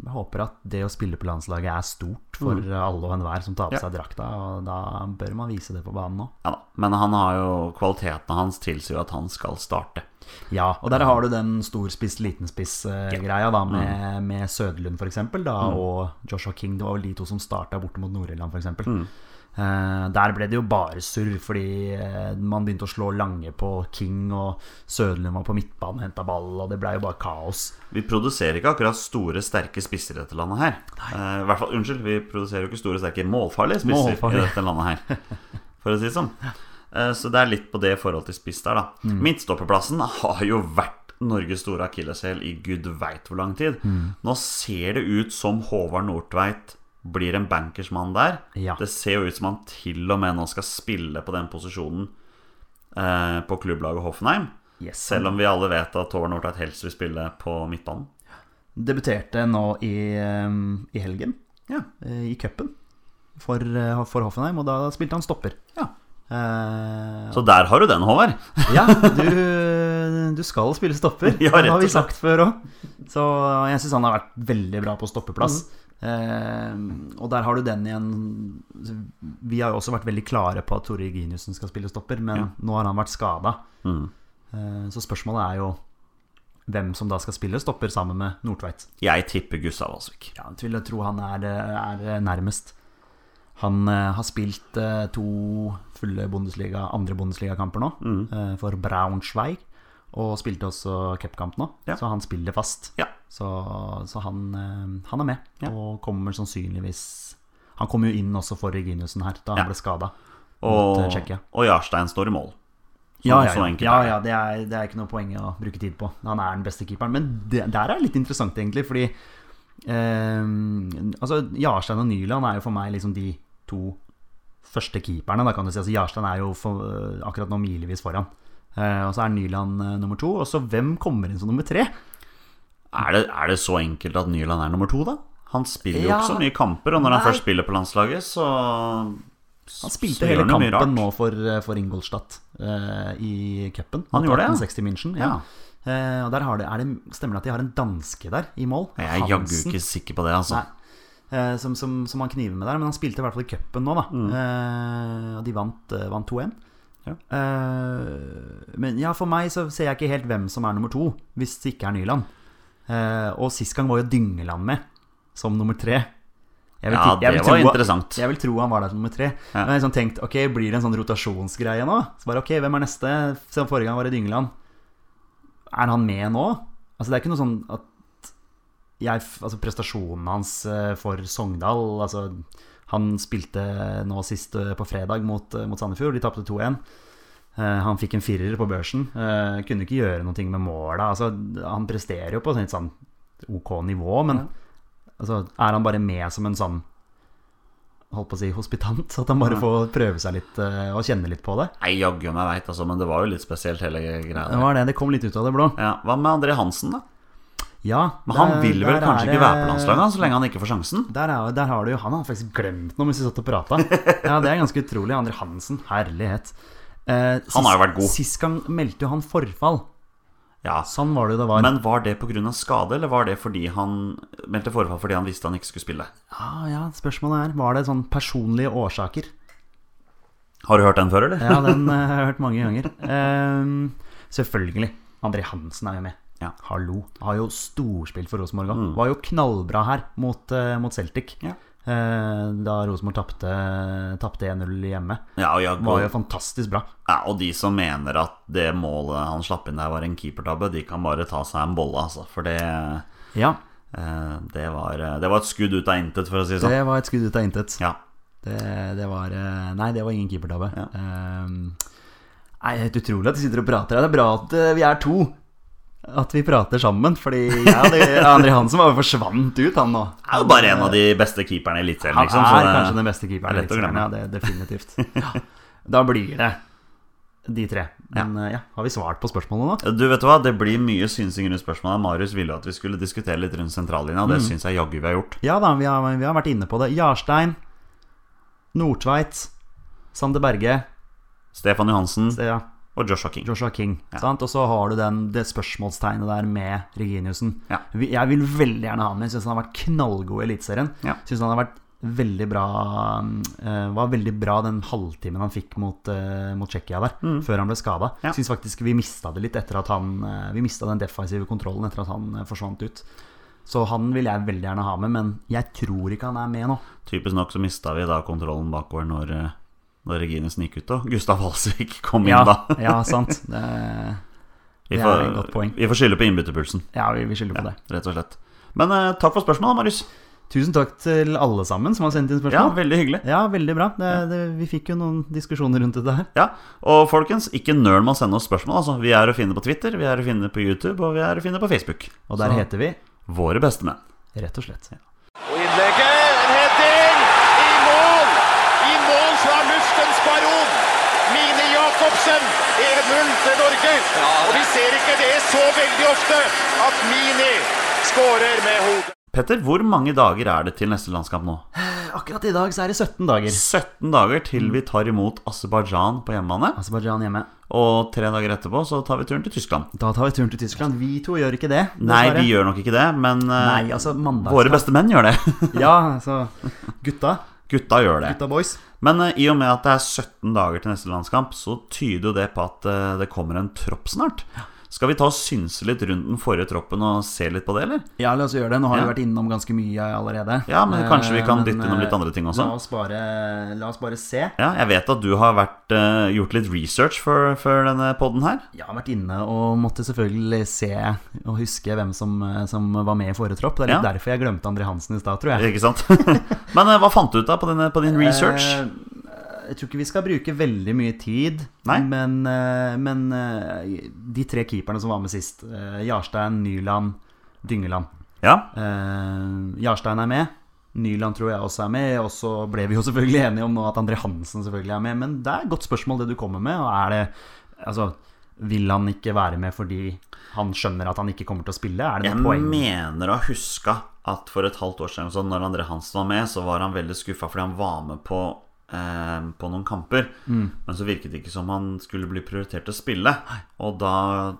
Jeg håper at det å spille på landslaget er stort for Mm. alle og enhver som tar på Ja. seg drakta, og da bør man vise det på banen nå. Ja da. Men han har jo kvalitetene hans tilsier jo at han skal starte. Ja, og der har du den storspiss, litenspiss-greia, eh, da, med, med Søderlund f.eks., da, og Joshua King. Det var vel de to som starta borte mot Nord-Irland, f.eks. eksempel Eh, der ble det jo bare surr, fordi eh, man begynte å slå lange på King, og Søderlund var på midtbanen og henta ball, og det blei jo bare kaos. Vi produserer ikke akkurat store, sterke spisser i dette landet her. Eh, I hvert fall, Unnskyld, vi produserer jo ikke store, sterke, målfarlige spisser Målfarlige. i dette landet her, for å si det sånn. Eh, Så det er litt på det i forhold til spiss der, da. Mm. Midtstopperplassen har jo vært Norges store akilleshæl i gud veit hvor lang tid. Mm. Nå ser det ut som Håvard Nordtveit blir en bankersmann der. Ja. Det ser jo ut som han til og med nå skal spille på den posisjonen eh, på klubblaget Hoffenheim. Yes. Selv om vi alle vet at Håvard Nordtveit helst vil spille på midtbanen. Debuterte nå i, eh, i helgen. Ja, eh, i cupen for, eh, for Hoffenheim, og da spilte han stopper. Ja. Eh, Så der har du den, Håvard. ja, du, du skal spille stopper. Ja, rett og det har vi slett. sagt før òg. Så jeg syns han har vært veldig bra på stoppeplass. Mm. Eh, og der har du den igjen. Vi har jo også vært veldig klare på at Tore Reginiussen skal spille stopper, men Ja. Mm. nå har han vært skada. så spørsmålet er jo hvem som da skal spille stopper sammen med Nordtveit. Jeg tipper Gustav Aasvik. Ja, jeg vil tro han er, er nærmest. Han eh, har spilt eh, to fulle Bundesliga, andre Bundesliga-kamper nå, Mm. eh, for Braunschweig. Og spilte også cupkamp nå, Ja. så han spiller fast. Ja. Så, så han, eh, han er med, Ja. og kommer sannsynligvis Han kom jo inn også for Reginiussen her, da han Ja. ble skada. Og, Mot, eh, Tsjekkia. og Jarstein står i mål. Så, Ja, ja, så ja. enkelt ja, er det. ja det, er, det er ikke noe poeng å bruke tid på. Han er den beste keeperen. Men det, der er det litt interessant, egentlig, fordi eh, altså, Jarstein og Nyland er jo for meg liksom de to første keeperne. Da kan du si. altså, Jarstein er jo for, eh, akkurat nå milevis foran. Eh, og så er Nyland eh, nummer to. Og så hvem kommer inn som nummer tre? Er, det, er det så enkelt at Nyland er nummer to, da? Han spiller jo Ja. ikke så mye kamper, og når han Nei. først spiller på landslaget, så Han så spilte gjør hele han jo mye kampen rart. nå for, for Ingolstadt eh, i cupen. Han gjorde det, ja. 1860 München. Ja. Eh, og der har det, er det, stemmer det at de har en danske der i mål? Jeg er jaggu Hansen. ikke sikker på det, altså. Nei. Eh, som, som, som han kniver med der. Men han spilte i hvert fall i cupen nå, da. Eh, og de vant, eh, vant 2-1. Mm. Ja. Eh, men ja, for meg så ser jeg ikke helt hvem som er nummer to, hvis det ikke er Nyland. Eh, og sist gang var jo Dyngeland med som nummer tre. Jeg Ja, tippe- jeg det tro var han- interessant. Jeg vil tro han var der som nummer tre. Ja. Men jeg har liksom tenkt, ok, blir det en sånn rotasjonsgreie nå? Så bare, ok, Hvem er neste? Siden forrige gang var det Dyngeland. Er han med nå? Altså Det er ikke noe sånn at jeg, altså prestasjonen hans eh, for Sogndal altså Han spilte nå sist eh, på fredag mot, eh, mot Sandefjord. De tapte 2-1. Eh, Han fikk en firer på børsen. eh, Kunne ikke gjøre noe med måla. Altså, han presterer jo på et sånn ok nivå, men altså, er han bare med som en sånn Holdt på å si hospitant? At han bare får prøve seg litt eh, og kjenne litt på det? Jeg jaggu meg veit, altså, men det var jo litt spesielt, hele greia. Det der. var det. Det kom litt ut av det blå. Ja, hva med André Hansen, da? Ja, Men han der- vil vel der kanskje er ikke være på det- landslaget, han, så lenge han ikke får sjansen? Der, er, der har du jo Han har faktisk glemt noe mens vi satt og prata. Ja, det er ganske utrolig. Andre Hansen, herlighet. Eh, sist, Han har jo vært god. Sist gang meldte jo han forfall. Ja, Sånn var det jo det var. Men var det pga. skade, eller var det fordi han meldte forfall fordi han visste han ikke skulle spille? ja, Ah, ja, spørsmålet er Var det sånn personlige årsaker? Har du hørt den før, eller? Ja, den eh, har jeg hørt mange ganger. Ehm, selvfølgelig. André Hansen er jo med. Ja. Hallo. Har jo storspilt for Rosenborg òg. Var jo knallbra her mot, eh, mot Celtic. Ja. Eh, da Rosenborg tapte tapte 1-0 hjemme. Ja, og, jeg, Var jo fantastisk bra. ja, og de som mener at det målet han slapp inn der var en keepertabbe, de kan bare ta seg en bolle, altså. For det, eh, Ja, det, var, eh, det var et skudd ut av intet, for å si det sånn. det var et skudd ut av intet. Ja. Det, det var eh, Nei, det var ingen keepertabbe. Ja. Ehm, nei, helt utrolig at de sitter og prater. her. Det er bra at eh, vi er to. at vi prater sammen, fordi jeg hadde, André Hansen var jo forsvant ut, han nå. Er jo bare en av de beste keeperne i Eliteserien, Han liksom. så er det- kanskje den beste det keeperen. er lett å i Eliteserien, glemme. Ja, det, definitivt. Ja. Da blir det de tre. Men eh, ja, har vi svart på spørsmålet nå? eh, Du vet du hva, Det blir mye synsing rundt spørsmålet. Marius ville at vi skulle diskutere litt rundt sentrallinja, og det Mm. syns jeg jaggu vi har gjort. Ja da, vi har, vi har vært inne på det. Jarstein, Nordtveit, Sander Berge, Stefan Johansen det, ja, og Joshua King. Joshua King. Sant? Og så har du den, det spørsmålstegnet der med Reginiussen. Ja. Vi- Jeg vil veldig gjerne ha ham inn. Syns han har vært knallgod i Eliteserien. Ja. Syns han har vært veldig bra eh, Var veldig bra den halvtimen han fikk mot, eh, mot Tsjekkia der, før han ble skada. Mm. Ja. Syns faktisk vi mista det litt etter at han eh, Vi mista den defensive kontrollen etter at han eh, forsvant ut. Så han vil jeg veldig gjerne ha med, men jeg tror ikke han er med nå. Typisk nok så mista vi da kontrollen bakover når, eh, når Regines gikk ut, og Gustav Halsvik kom inn da. ja sant. Det, Vi det får, er et godt poeng. vi får skylde på innbytterpulsen, ja, vi, vi skylder på det. rett og slett. Men eh, takk for spørsmålet, Marius. Tusen takk til alle sammen som har sendt inn Ja, spørsmål. Veldig hyggelig. Ja, veldig bra. Det, det, vi fikk jo noen diskusjoner rundt dette her. Ja, Og folkens, ikke nøl med å sende oss spørsmål. altså. Vi er å finne på Twitter, vi er å finne på YouTube, og vi er å finne på Facebook. Og der Så, heter vi Våre beste menn. rett og slett Og innlegget, en heading, i mål! I mål fra luftens baron! Mine Jacobsen, 1-0 til Norge. Og vi ser ikke det så veldig ofte at Mini skårer med hodet. Petter, hvor mange dager er det til neste landskamp nå? Eh, Akkurat i dag så er det 17 dager. 17 dager til vi tar imot Aserbajdsjan på hjemmebane. Aserbajdsjan hjemme. Og tre dager etterpå så tar vi turen til Tyskland. Da tar vi turen til Tyskland. Vi to gjør ikke det. Nei, vi gjør nok ikke det, men eh, Nei, altså mandag våre beste menn gjør det. Ja, altså Gutta. Gutta gjør det. Gutta boys. Men eh, i og med at det er 17 dager til neste landskamp, så tyder jo det på at eh, det kommer en tropp snart. Skal vi ta og synse litt rundt den forrige troppen og se litt på det, eller? Ja, la oss gjøre det. Nå Ja. har vi vært innom ganske mye allerede. Ja, men kanskje vi Eh, kan men, dytte innom litt eh, andre ting også? La oss bare, la oss bare se. Ja, jeg vet at du har vært, eh, gjort litt research for, for denne poden her. Jeg har vært inne og måtte selvfølgelig se og huske hvem som, eh, som var med i forrige tropp. Det er litt Ja. derfor jeg glemte André Hansen i stad, tror jeg. Ikke sant? Men eh, hva fant du ut av på, denne, på din research? Eh, Jeg tror ikke vi skal bruke veldig mye tid, Nei. men, eh, men eh, de tre keeperne som var med sist, eh, Jarstein, Nyland, Dyngeland Ja, Eh, Jarstein er med. Nyland tror jeg også er med. Og så ble vi jo selvfølgelig enige om nå at André Hansen selvfølgelig er med. Men det er et godt spørsmål, det du kommer med. Og er det Altså, vil han ikke være med fordi han skjønner at han ikke kommer til å spille? Er det Jeg noe poeng? mener å huske at for et halvt år siden, så når André Hansen var med, så var han veldig skuffa fordi han var med på, eh, på noen kamper. Mm. Men så virket det ikke som han skulle bli prioritert til å spille. Og da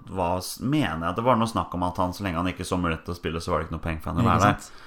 var, mener jeg at det var noe snakk om at han, så lenge han ikke så mulighet til å spille, så var det ikke noe poeng for han å Ikke være der. sant?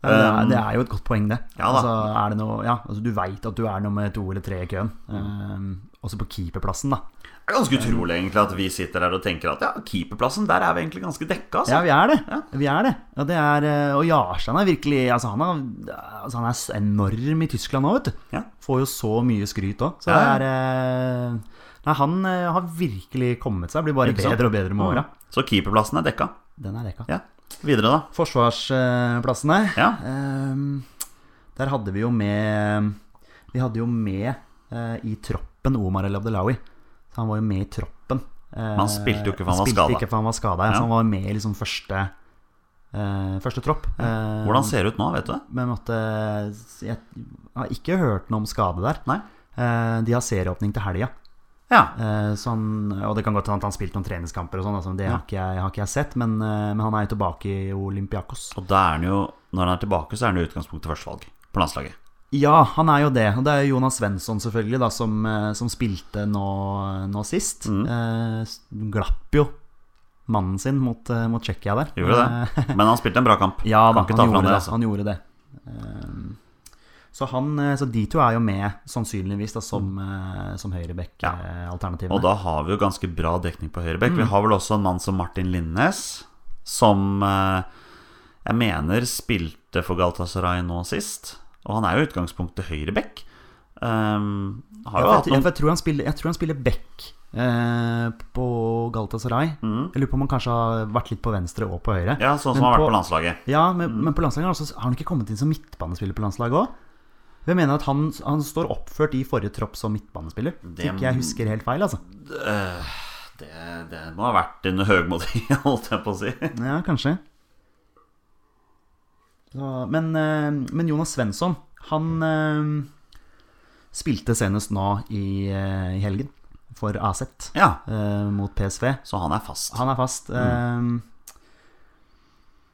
Ja, det, er, det er jo et godt poeng, det. Um, Ja da. altså, er det noe, ja, altså, du veit at du er nummer to eller tre i køen. Eh, også på keeperplassen, da. Det er ganske utrolig egentlig at vi sitter her og tenker at ja, keeperplassen, der er vi egentlig ganske dekka. Altså. Ja, vi er det. Ja. Vi er det. Ja, det er, eh, og Jarstein er virkelig altså han, er, altså han er s- enorm i Tyskland nå, vet du. Ja. Får jo så mye skryt òg. Så Ja, ja. det er eh, Nei, han eh, har virkelig kommet seg. Blir bare Ikke sant? bedre og bedre med åra. Så keeperplassen er dekka. Den er rekka. Ja. Videre, da. Forsvarsplassene. Ja. Ehm, der hadde vi jo med Vi hadde jo med eh, i troppen Omar El Abdelawi. Så han var jo med i troppen. Eh, han spilte jo ikke for han var spilte skadet. ikke for han var skadet, Ja. ja. Så han var med i liksom første, eh, første tropp. Eh, Hvordan ser det ut nå, vet du det? Men måtte Jeg har ikke hørt noe om skade der. Nei? Eh, de har serieåpning til helga. Ja. Eh, så han- og det kan godt hende at han spilte noen treningskamper og sånn, altså, det har, ikke jeg, har ikke jeg sett. Men, eh, men han er jo tilbake i Olympiakos. Og da er han jo, når han er tilbake, så er han jo i utgangspunktet førstevalg på landslaget. Ja, han er jo det. Og det er jo Jonas Svensson selvfølgelig da, som, eh, som spilte nå, nå sist. Mm. Eh, s- glapp jo mannen sin mot, eh, mot Tsjekkia der. Eh, Gjorde det. Men han spilte en bra kamp. Ja da, kan ikke ta han fra gjorde, det, det, altså. han gjorde det. Ehm, Så, han, eh, så de to er jo med, sannsynligvis, da, som, eh, som Og høyrebekk-alternativene. Mm. da har vi jo ganske bra dekning på høyrebekk. Mm. Vi har vel også en mann som Martin Lindnes, som eh, jeg mener spilte for Galatasaray nå sist. Og han er jo i utgangspunktet høyrebekk. Um, har jo Ja, hatt for jeg, noen for jeg, tror han spiller, jeg tror han spiller back eh, på Galatasaray. Jeg lurer på om han kanskje har vært litt på venstre og på høyre. Mm. Ja, sånn som han Men har vært på- på landslaget. Ja, men, men på landslaget har han også- har han ikke kommet inn som midtbanespiller på landslaget òg? Jeg mener at han, han står oppført i forrige tropp som midtbanespiller. Hvis Det- ikke jeg husker helt feil, altså. Det, det må ha vært en høgmodig, holdt jeg på å si. Ja, kanskje. Så, men, eh, men Jonas Svensson, han eh, spilte senest nå i, eh, i helgen for AZ Ja, eh, mot PSV. så han er fast. Han er fast. Eh,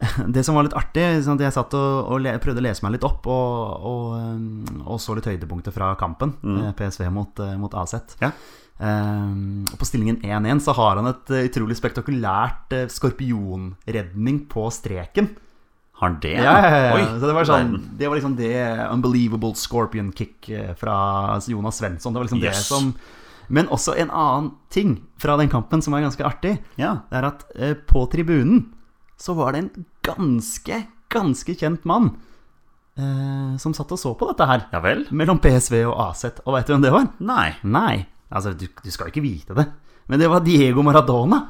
Det som var litt artig sånn at Jeg satt og, og le, prøvde å lese meg litt opp og, og, eh, og så litt høydepunkter fra kampen. eh, PSV mot, eh, mot AZ. Ja. Eh, og på stillingen 1-1 så har han et eh, utrolig spektakulært eh, skorpionredning på streken. Har han det? Ja, ja, ja. Oi, så det var, sånn, verden. det var liksom det unbelievable scorpion kick eh, fra Jonas Svensson. Det var liksom det Yes. som Men også en annen ting fra den kampen som er ganske artig. Ja. Det er at eh, på tribunen så var det en ganske, ganske kjent mann eh, som satt og så på dette her. ja vel? Mellom PSV og AZ. Og veit du hvem det var? Nei. Nei, altså du, du skal jo ikke vite det. Men det var Diego Maradona.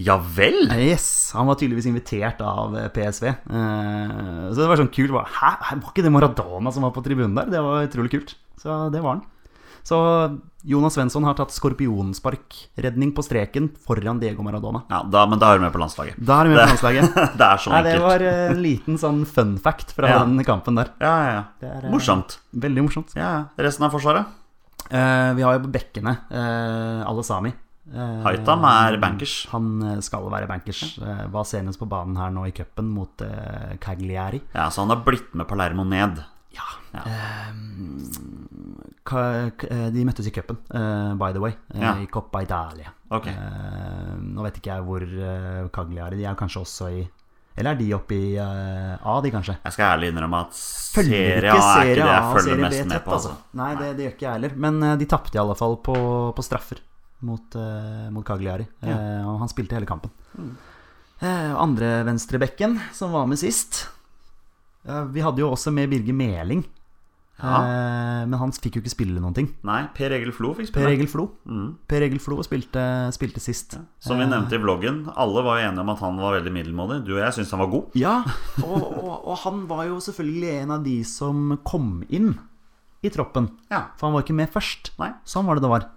Ja vel? Eh, Yes, Han var tydeligvis invitert av eh, PSV. Eh, så det var sånn kult. bare, Hæ, Hæ? var ikke det Maradona som var på tribunen der? Det var utrolig kult. Så det var han. Så Jonas Svensson har tatt skorpionsparkredning på streken foran Diego Maradona. Ja, da, men da er du med på landslaget. Da er vi med på landslaget. det er så Nei, det enkelt. var eh, en liten sånn fun fact fra Ja. den kampen der. Ja, ja, ja. er, eh, Morsomt. Veldig morsomt. Ja, ja. Resten av Forsvaret? Eh, vi har jo på bekkene eh, alle sami. Eh, Haitam er bankers. Han eh, skal være bankers. Eh, var senest på banen her nå i cupen mot eh, Cagliari. Ja, Så han har blitt med Palermo ned. Ja. Ja. Ka- k- eh, de møttes i cupen, eh, by the way, eh, Ja. i Coppa Italia. Ok. Eh, nå vet ikke jeg hvor eh, Cagliari De er kanskje også i Eller er de oppe i eh, A, de, kanskje? Jeg skal ærlig innrømme at følger Serie A er ikke ikke Serie det A jeg og følger Serie B mest med tett, på. Altså. altså. Nei, det, det gjør ikke jeg heller. Men eh, de tapte i alle fall på, på straffer mot, eh, mot Cagliari. Eh, og han spilte hele kampen. Mm. Eh, andre venstrebekken, som var med sist eh, Vi hadde jo også med Birger Meling. Eh, men han fikk jo ikke spille noen ting. Nei, Per Egil Flo fikk Per spille. Egil Flo. Mm. Per Egil Flo spilte, spilte sist. Som vi nevnte i vloggen, alle var jo enige om at han var veldig middelmådig. Du og jeg syns han var god. Ja, og, og, og han var jo selvfølgelig en av de som kom inn i troppen. Ja. For han var ikke med først. Nei. Sånn var det det var.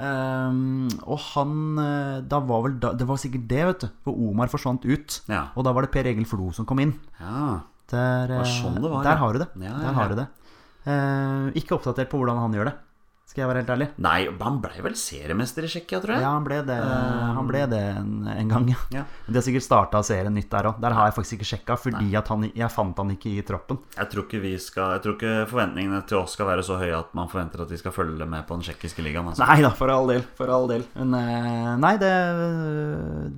Ehm, og han eh, Da var vel da, Det var sikkert det, vet du. For Omar forsvant ut. Ja. Og da var det Per Egil Flo som kom inn. Ja. Der, eh, sånn det var, ja. der har du det. Ja, ja, der ja. har du det. Eh, ikke oppdatert på hvordan han gjør det, skal jeg være helt ærlig. Nei, han ble vel seriemester i Tsjekkia, tror jeg. Ja, han ble det, han ble det en, en gang, ja. Um, Ja. De har sikkert starta serien nytt der òg. Der har jeg faktisk ikke sjekka, fordi at han, jeg fant han ikke i troppen. Jeg tror, ikke vi skal, jeg tror ikke forventningene til oss skal være så høye at man forventer at vi skal følge med på den tsjekkiske ligaen. Altså. Nei da, for all del. For all del. Men eh, nei, det,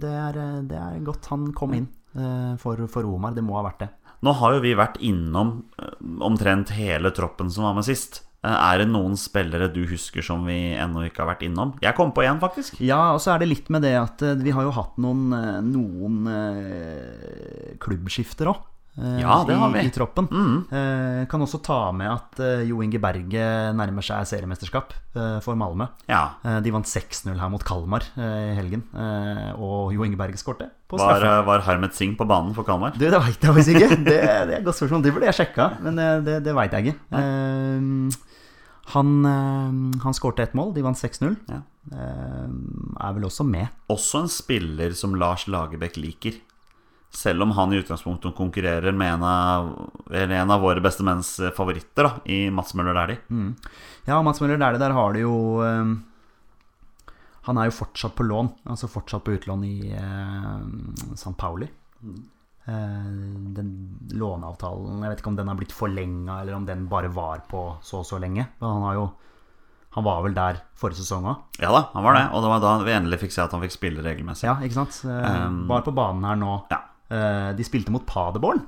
det, er, det er godt han kom inn eh, for, for Omar. Det må ha vært det. Nå har jo vi vært innom eh, omtrent hele troppen som var med sist. Eh, Er det noen spillere du husker som vi ennå ikke har vært innom? Jeg kom på én, faktisk. Ja, og så er det litt med det at eh, vi har jo hatt noen, eh, noen eh, klubbskifter òg. Ja, det har vi. Mm. I, i troppen. Eh, kan også ta med at eh, Jo Inge Berge nærmer seg seriemesterskap eh, for Malmö. Ja. Eh, de vant 6-0 her mot Kalmar eh, i helgen, eh, og Jo Inge Berge skårte på Var, straffe. eh, var Harmet Singh på banen for Kalmar? Du, det veit jeg faktisk ikke. Det, det er et godt spørsmål. Det burde jeg sjekka, men eh, det, det veit jeg ikke. Eh, han eh, han skårte ett mål, de vant 6-0. Ja. Eh, er vel også med. Også en spiller som Lars Lagerbäck liker. Selv om han i utgangspunktet konkurrerer med en av, eller en av våre beste menns eh, favoritter da, i Mats Møller Dæhlie. Mm. Ja, Mats Møller Dæhlie, der har du jo eh, Han er jo fortsatt på lån, altså fortsatt på utlån i eh, San Pauli. Eh, den låneavtalen Jeg vet ikke om den har blitt forlenga, eller om den bare var på så og så lenge. Men han har jo Han var vel der forrige sesong òg. Ja da, han var det. Og det var da vi endelig fikk se at han fikk spille regelmessig. Ja, ikke sant? Eh, var på banen her nå. Ehm, Ja. Eh, de spilte mot Paderborn.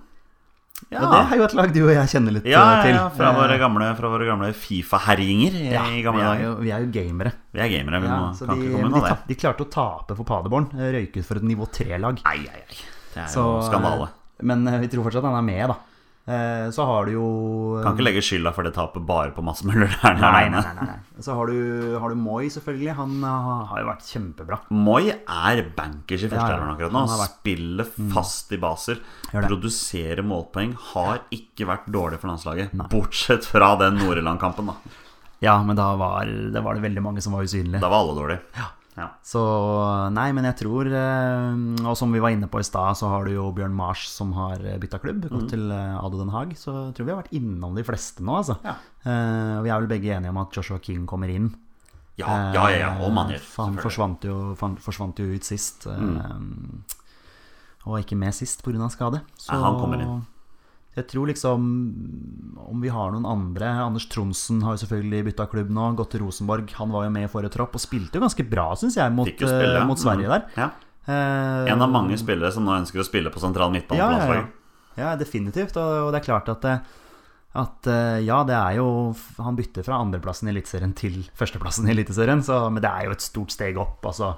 Ja. Og det er jo et lag du og jeg kjenner litt Ja, eh, ja, til. ja fra, Eh, våre gamle, fra våre gamle Fifa-herjinger i ja, i gamle vi, er dager. jo, vi er jo gamere. Vi er gamere, vi Ja, må, så kan de, ikke komme men de, unna det. tap- de klarte å tape for Paderborn. eh, Røyket for et nivå 3-lag. Nei, nei, nei. Det er jo skandale. Men eh, vi tror fortsatt han er med, da. Eh, så har du jo eh, Kan ikke legge skylda for det tapet bare på Mads Møller Dæhlie. Nei, nei, alene. nei, nei, nei. Så har du, har du Moi, selvfølgelig. Han eh, har jo vært kjempebra. Moi er bankers i Ja, ja. førsteelveren akkurat nå. Han har vært- Mm. Spiller fast i baser, Gjør det. produserer målpoeng. Har ikke vært dårlig for landslaget, bortsett fra den Noreland-kampen, da. Ja, men da var, da var det veldig mange som var usynlige. Da var alle dårlige. Ja. Så nei, men jeg tror eh, Og som vi var inne på i stad, så har du jo Bjørn Mars som har bytta klubb, Mm. gått til eh, ADO Den Haag. Så jeg tror vi har vært innom de fleste nå, altså. Ja. Eh, og vi er vel begge enige om at Joshua King kommer inn. Ja, ja, ja, ja. Og Manjer. Eh, Han forsvant jo, fan- forsvant jo ut sist. eh, Og var ikke med sist pga. skade. Mm. Så Ja, han kommer inn. jeg tror liksom Om vi har noen andre Anders Tronsen har jo selvfølgelig bytta klubb nå. Gått til Rosenborg. Han var jo med i forrige tropp og spilte jo ganske bra, syns jeg, mot, Fikk jo spille. mm. eh, mot Sverige der. Ja. Eh, En av mange spillere som nå ønsker å spille på sentral midtbane på ja, landslaget. ja. ja, definitivt. Og, og det er klart at, eh, at eh, ja, det er jo Han bytter fra andreplassen i Eliteserien til førsteplassen i Eliteserien, så- men det er jo et stort steg opp. Altså,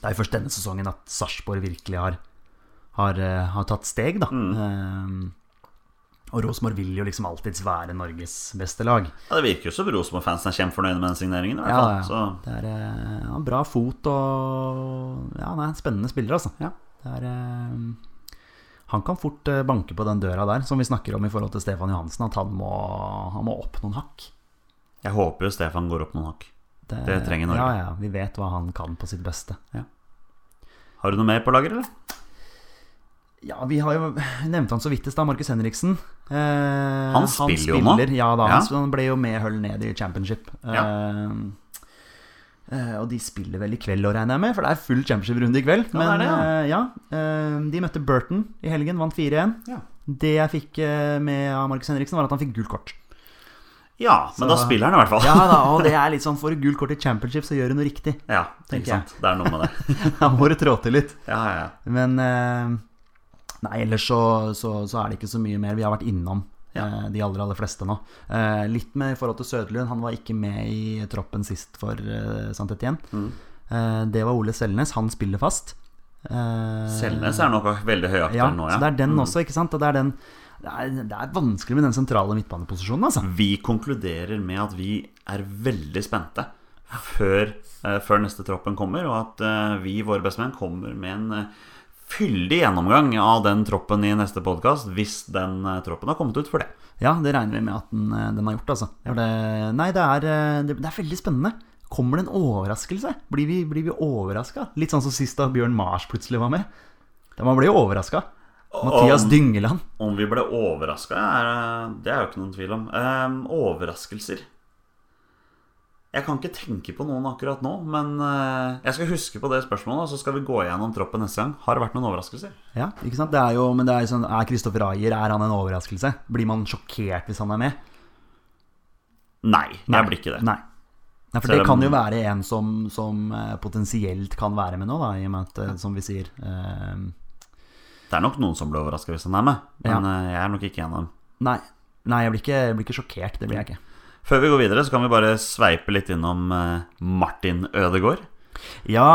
det er jo først denne sesongen at Sarpsborg virkelig har, har, eh, har tatt steg, da. Eh, og Rosenborg vil jo liksom alltids være Norges beste lag. Ja, det virker jo som Rosenborg-fansen er kjempefornøyde med den signeringen. i hvert Ja, fall. ja. Så Det er eh, han har bra fot og Ja, han er en spennende spiller, altså. Det er, eh, han kan fort eh, banke på den døra der, som vi snakker om i forhold til Stefan Johansen, at han må, han må opp noen hakk. jeg håper jo Stefan går opp noen hakk. Det trenger Norge. Ja, ja, vi vet hva han kan på sitt beste. Har du noe mer på lager, eller? Ja, vi har jo nevnte han så vidt i stad, Markus Henriksen. Eh, han spiller jo nå. spiller- Ja da, Ja. Han, han ble jo med Hull ned i championship. Eh, eh, og de spiller vel i kveld, å regner jeg med, for det er full championship-runde i kveld. Ja, Men det er det, ja. eh, ja, eh, de møtte Burton i helgen, vant 4-1. Ja. Det jeg fikk eh, med av Markus Henriksen, var at han fikk gult kort. Ja, men Så- da spiller han i hvert fall. Ja da, og det er litt sånn, får du gult kort i championship, så gjør du noe riktig. Ja, Tenker ikke sant. Det er noe med det. Da må du trå til litt. Ja, ja, ja. Men eh, Nei, ellers så, så, så er det ikke så mye mer. Vi har vært innom eh, de aller, aller fleste nå. Eh, litt med i forhold til Søderlund. Han var ikke med i troppen sist for eh, Sant Etienne. Mm. Eh, det var Ole Selnes. Han spiller fast. Eh, Selnes er nok veldig høyaktuell ja, nå, Så ja. det Mm. er den også, ikke sant? Og det er den det er, det er vanskelig med den sentrale midtbaneposisjonen, altså. Vi konkluderer med at vi er veldig spente før, eh, før neste troppen kommer, og at eh, vi, våre bestemenn, kommer med en eh, fyldig gjennomgang av den troppen i neste podkast, hvis den eh, troppen har kommet ut for det. Ja, det regner vi med at den, eh, den har gjort, altså. For det, nei, det er, eh, det, det er veldig spennende. Kommer det en overraskelse? Blir vi, blir vi overraska? Litt sånn som sist da Bjørn Mars plutselig var med. Da man ble jo overraska. Mathias Om- Dyngeland. Om vi ble overraska, det er jo ikke noen tvil om. Ehm, overraskelser Jeg kan ikke tenke på noen akkurat nå, men eh, jeg skal huske på det spørsmålet, og så skal vi gå gjennom troppen neste gang. Har det vært noen overraskelser? Ja, ikke sant? Det er jo, men det er jo sånn, er Kristoffer Ayer er han en overraskelse? Blir man sjokkert hvis han er med? Nei, jeg blir ikke det. Nei. Nei, for Selv det kan om- jo være en som, som eh, potensielt kan være med nå, da, i og med at, eh, som vi sier eh, Det er nok noen som blir overraska hvis han er med, men eh, jeg er nok ikke en av dem. Nei, nei jeg, blir ikke, jeg blir ikke sjokkert. Det blir jeg ikke. Før vi går videre, så kan vi bare sveipe litt innom eh, Martin Ødegaard. Ja.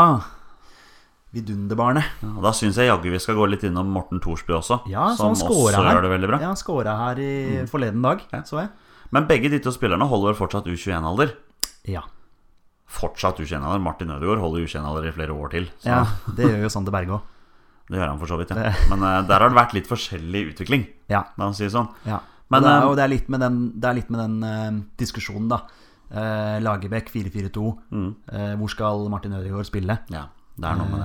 Vidunderbarnet. Og da syns jeg jaggu vi skal gå litt innom Morten Thorsby også, Ja, så som han scora også her. gjør det veldig bra. Mm. Ja, han scora her i forleden dag, så jeg. Men begge de to spillerne holder fortsatt U21-alder. Ja. fortsatt ukjennaler. Martin Ødegaard holder ukjennaler i flere år til. Så ja. Det gjør jo Sander Berge òg. Det gjør han for så vidt, ja. Men eh, der har det vært litt forskjellig utvikling, Ja. la oss si det sånn. ja. Men, og det, er, eh, og det er litt med den, det er litt med den eh, diskusjonen, da. Eh, Lagerbäck 4-4-2. Eh, hvor skal Martin Ødegaard spille? Mm. Ja, det er noe med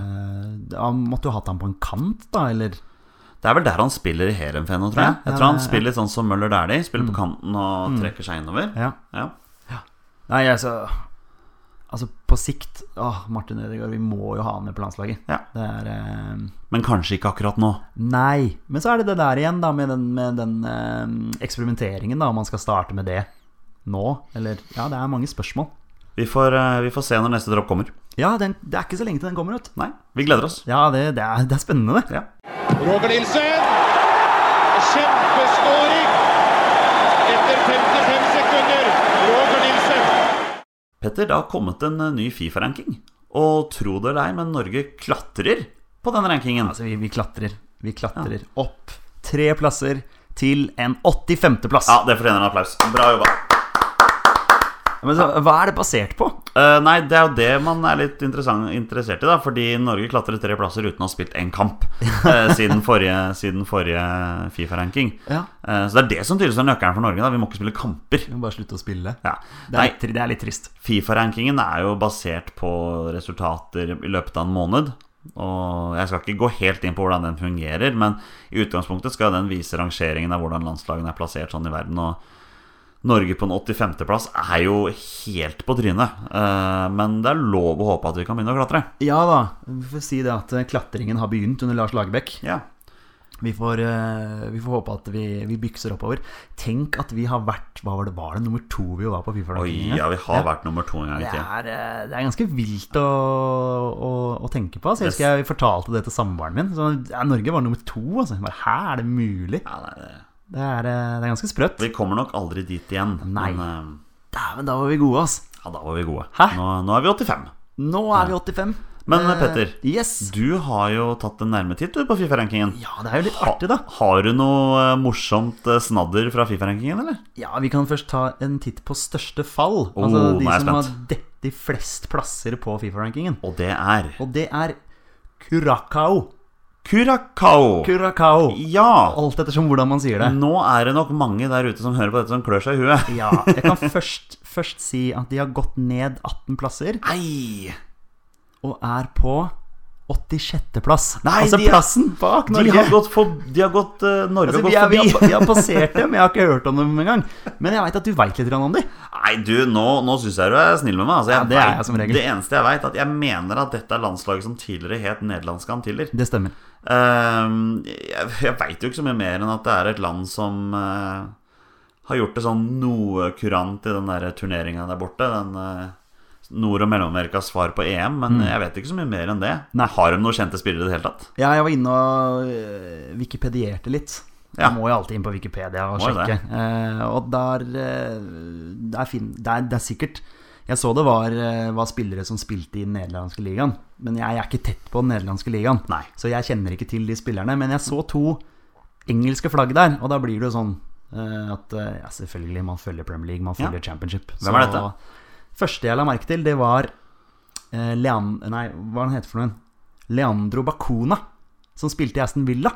det. Eh, han måtte jo hatt han på en kant, da, eller? Det er vel der han spiller i Heerenveen nå, tror jeg. Ja, ja, Jeg tror han ja, ja. spiller litt sånn som Møller Dæhlie. Spiller på kanten og trekker seg innover. Ja. Ja. Nei, altså Altså, på sikt Åh, Martin Ødegaard, vi må jo ha han med på landslaget. Ja. Det er eh, Men kanskje ikke akkurat nå. Nei. Men så er det det der igjen, da, med den, med den eh, eksperimenteringen, da, om man skal starte med det nå, eller Ja, det er mange spørsmål. Vi får, eh, vi får se når neste dropp kommer. Ja, den, det er ikke så lenge til den kommer, vet du. Nei, vi gleder oss. Ja, det, det, er, det er spennende, det. Ja. Roger Nilsen. Kjempeskåring etter 55 sekunder. Roger Nilsen. Petter, det har kommet en eh, ny Fifa-ranking. Og tro det eller ei, men Norge klatrer på den rankingen. Altså, vi, vi klatrer. Vi klatrer opp tre plasser til en 85. plass. Ja, det fortjener en applaus. Bra jobba. Men så, hva er det basert på? Eh, nei, det er jo det man er litt interessant, interessert i, da. Fordi Norge klatret tre plasser uten å ha spilt én kamp eh, siden forrige, siden forrige Fifa-ranking. Ja. Eh, så det er det som tydeligvis er nøkkelen for Norge. da Vi må ikke spille kamper. Vi må bare slutte å spille. Ja. Det, er Nei, litt, tri- det er litt trist. Fifa-rankingen er jo basert på resultater i løpet av en måned. Og jeg skal ikke gå helt inn på hvordan den fungerer, men i utgangspunktet skal den vise rangeringen av hvordan landslagene er plassert sånn i verden. Og Norge på en 85.-plass er jo helt på trynet. Eh, Men det er lov å håpe at vi kan begynne å klatre. Ja da, vi får si det at eh, klatringen har begynt under Lars Lagerbäck. Ja. Vi får, eh, vi får håpe at vi, vi bykser oppover. Tenk at vi har vært Hva var det, var det nummer to vi var på Oi, Fifa-rankingen? ja, vi har vært nummer to en gang i Det tida. er, eh, det er ganske vilt å, å, å tenke på. Altså, jeg Yes. husker jeg fortalte det til samboeren min. Så, ja, Norge var nummer to. Altså. Jeg Bare, Hæ, er det mulig? Ja, nei, det- Det er, eh, det er ganske sprøtt. Vi kommer nok aldri dit igjen. Nei. Men Dæven, da var vi gode, ass. eh, ja, da var vi gode. Hæ? Nå, nå er vi 85. Nå er vi 85. Men, Eh, Petter, Yes. Du har jo tatt en nærme titt du, på Fifa-rankingen. Ja, det er jo litt artig, da. Har du noe eh, morsomt eh, snadder fra Fifa-rankingen, eller? Ja, Vi kan først ta en titt på største fall. Oh, altså de nå er jeg som har spent. dettet flest plasser på Fifa-rankingen. Og det er Og det er Curacao. Curacao. Curacao. Ja! Alt ettersom hvordan man sier det. Nå er det nok mange der ute som hører på dette, som klør seg i huet. Ja, jeg kan først, først si at de har gått ned 18 plasser Nei! og er på 86. plass. Nei, altså de er- plassen bak De Norge. har gått, for, de har gått eh, Norge altså, vi, har er, vi, gått har, forbi. vi har passert dem, jeg har ikke hørt om dem engang. Men jeg veit at du veit litt grann om dem. Nei, du, nå, nå syns jeg du er snill med meg. Altså, Ja, det er jeg vet- som regel. det eneste jeg veit, at jeg mener at dette er landslaget som tidligere het nederlandske antiller. Det stemmer. Ehm, jeg jeg veit jo ikke så mye mer enn at det er et land som eh, har gjort det sånn noe kurant i den der turneringa der borte. Den eh, Nord- og Mellom-Amerikas svar på EM, Mm. men jeg vet ikke så mye mer enn det. Har de noen kjente spillere i det hele tatt? Ja, jeg var inne og øh, wikipedierte litt. Ja. Jeg må jo alltid inn på Wikipedia og Må jo sjekke. det. Eh, og der, eh, der, fin, der Det er sikkert Jeg så det var, eh, var spillere som spilte i den nederlandske ligaen. Men jeg er ikke tett på den nederlandske ligaen, Nei. så jeg kjenner ikke til de spillerne. Men jeg så to engelske flagg der, og da blir det jo sånn eh, at eh, ja, selvfølgelig, man følger Premier League, man Ja. følger Championship. Hvem er dette? Første jeg la merke til, det var eh, Lean... Nei, hva han heter for noen? Leandro Bacuna, som spilte i Aston Villa.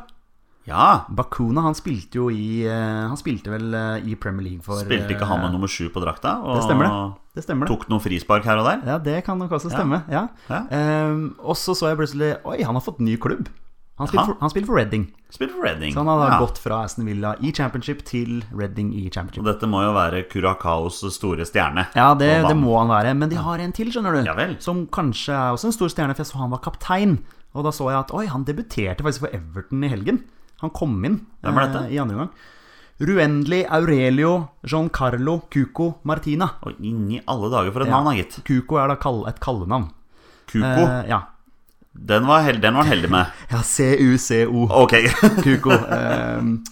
Ja! Bacuna han spilte jo i eh, Han spilte vel eh, i Premier League for eh, Spilte ikke han med nummer sju på drakta? Og Det stemmer det. Det stemmer, det. tok noen frispark her og der? Ja, det kan nok også stemme. Ja. Ja. Ehm, og så så jeg plutselig Oi, han har fått ny klubb. Han spilte Jaha. for, han spilte for Reading. Spilte for Reading. Så han har da Ja. gått fra Aston Villa i Championship til Reading i Og Championship. dette må jo være Curacaos store stjerne. Ja, det, Og det vann. må han være. Men de har en til, skjønner du. Ja vel. Som kanskje er også en stor stjerne, for jeg så han var kaptein. Og da så jeg at oi, han debuterte faktisk for Everton i helgen. Han kom inn Hvem er dette? eh, i andre omgang. Ruendli, Aurelio, Giancarlo, Cuco, Martina. Og inn i alle dager for et Ja. navn, da, gitt. Kuko er da kall- et kallenavn. Kuko. Eh, ja. Den var hel- den var han heldig med. ja, C-U-C-O. Ok. Kuko. ehm,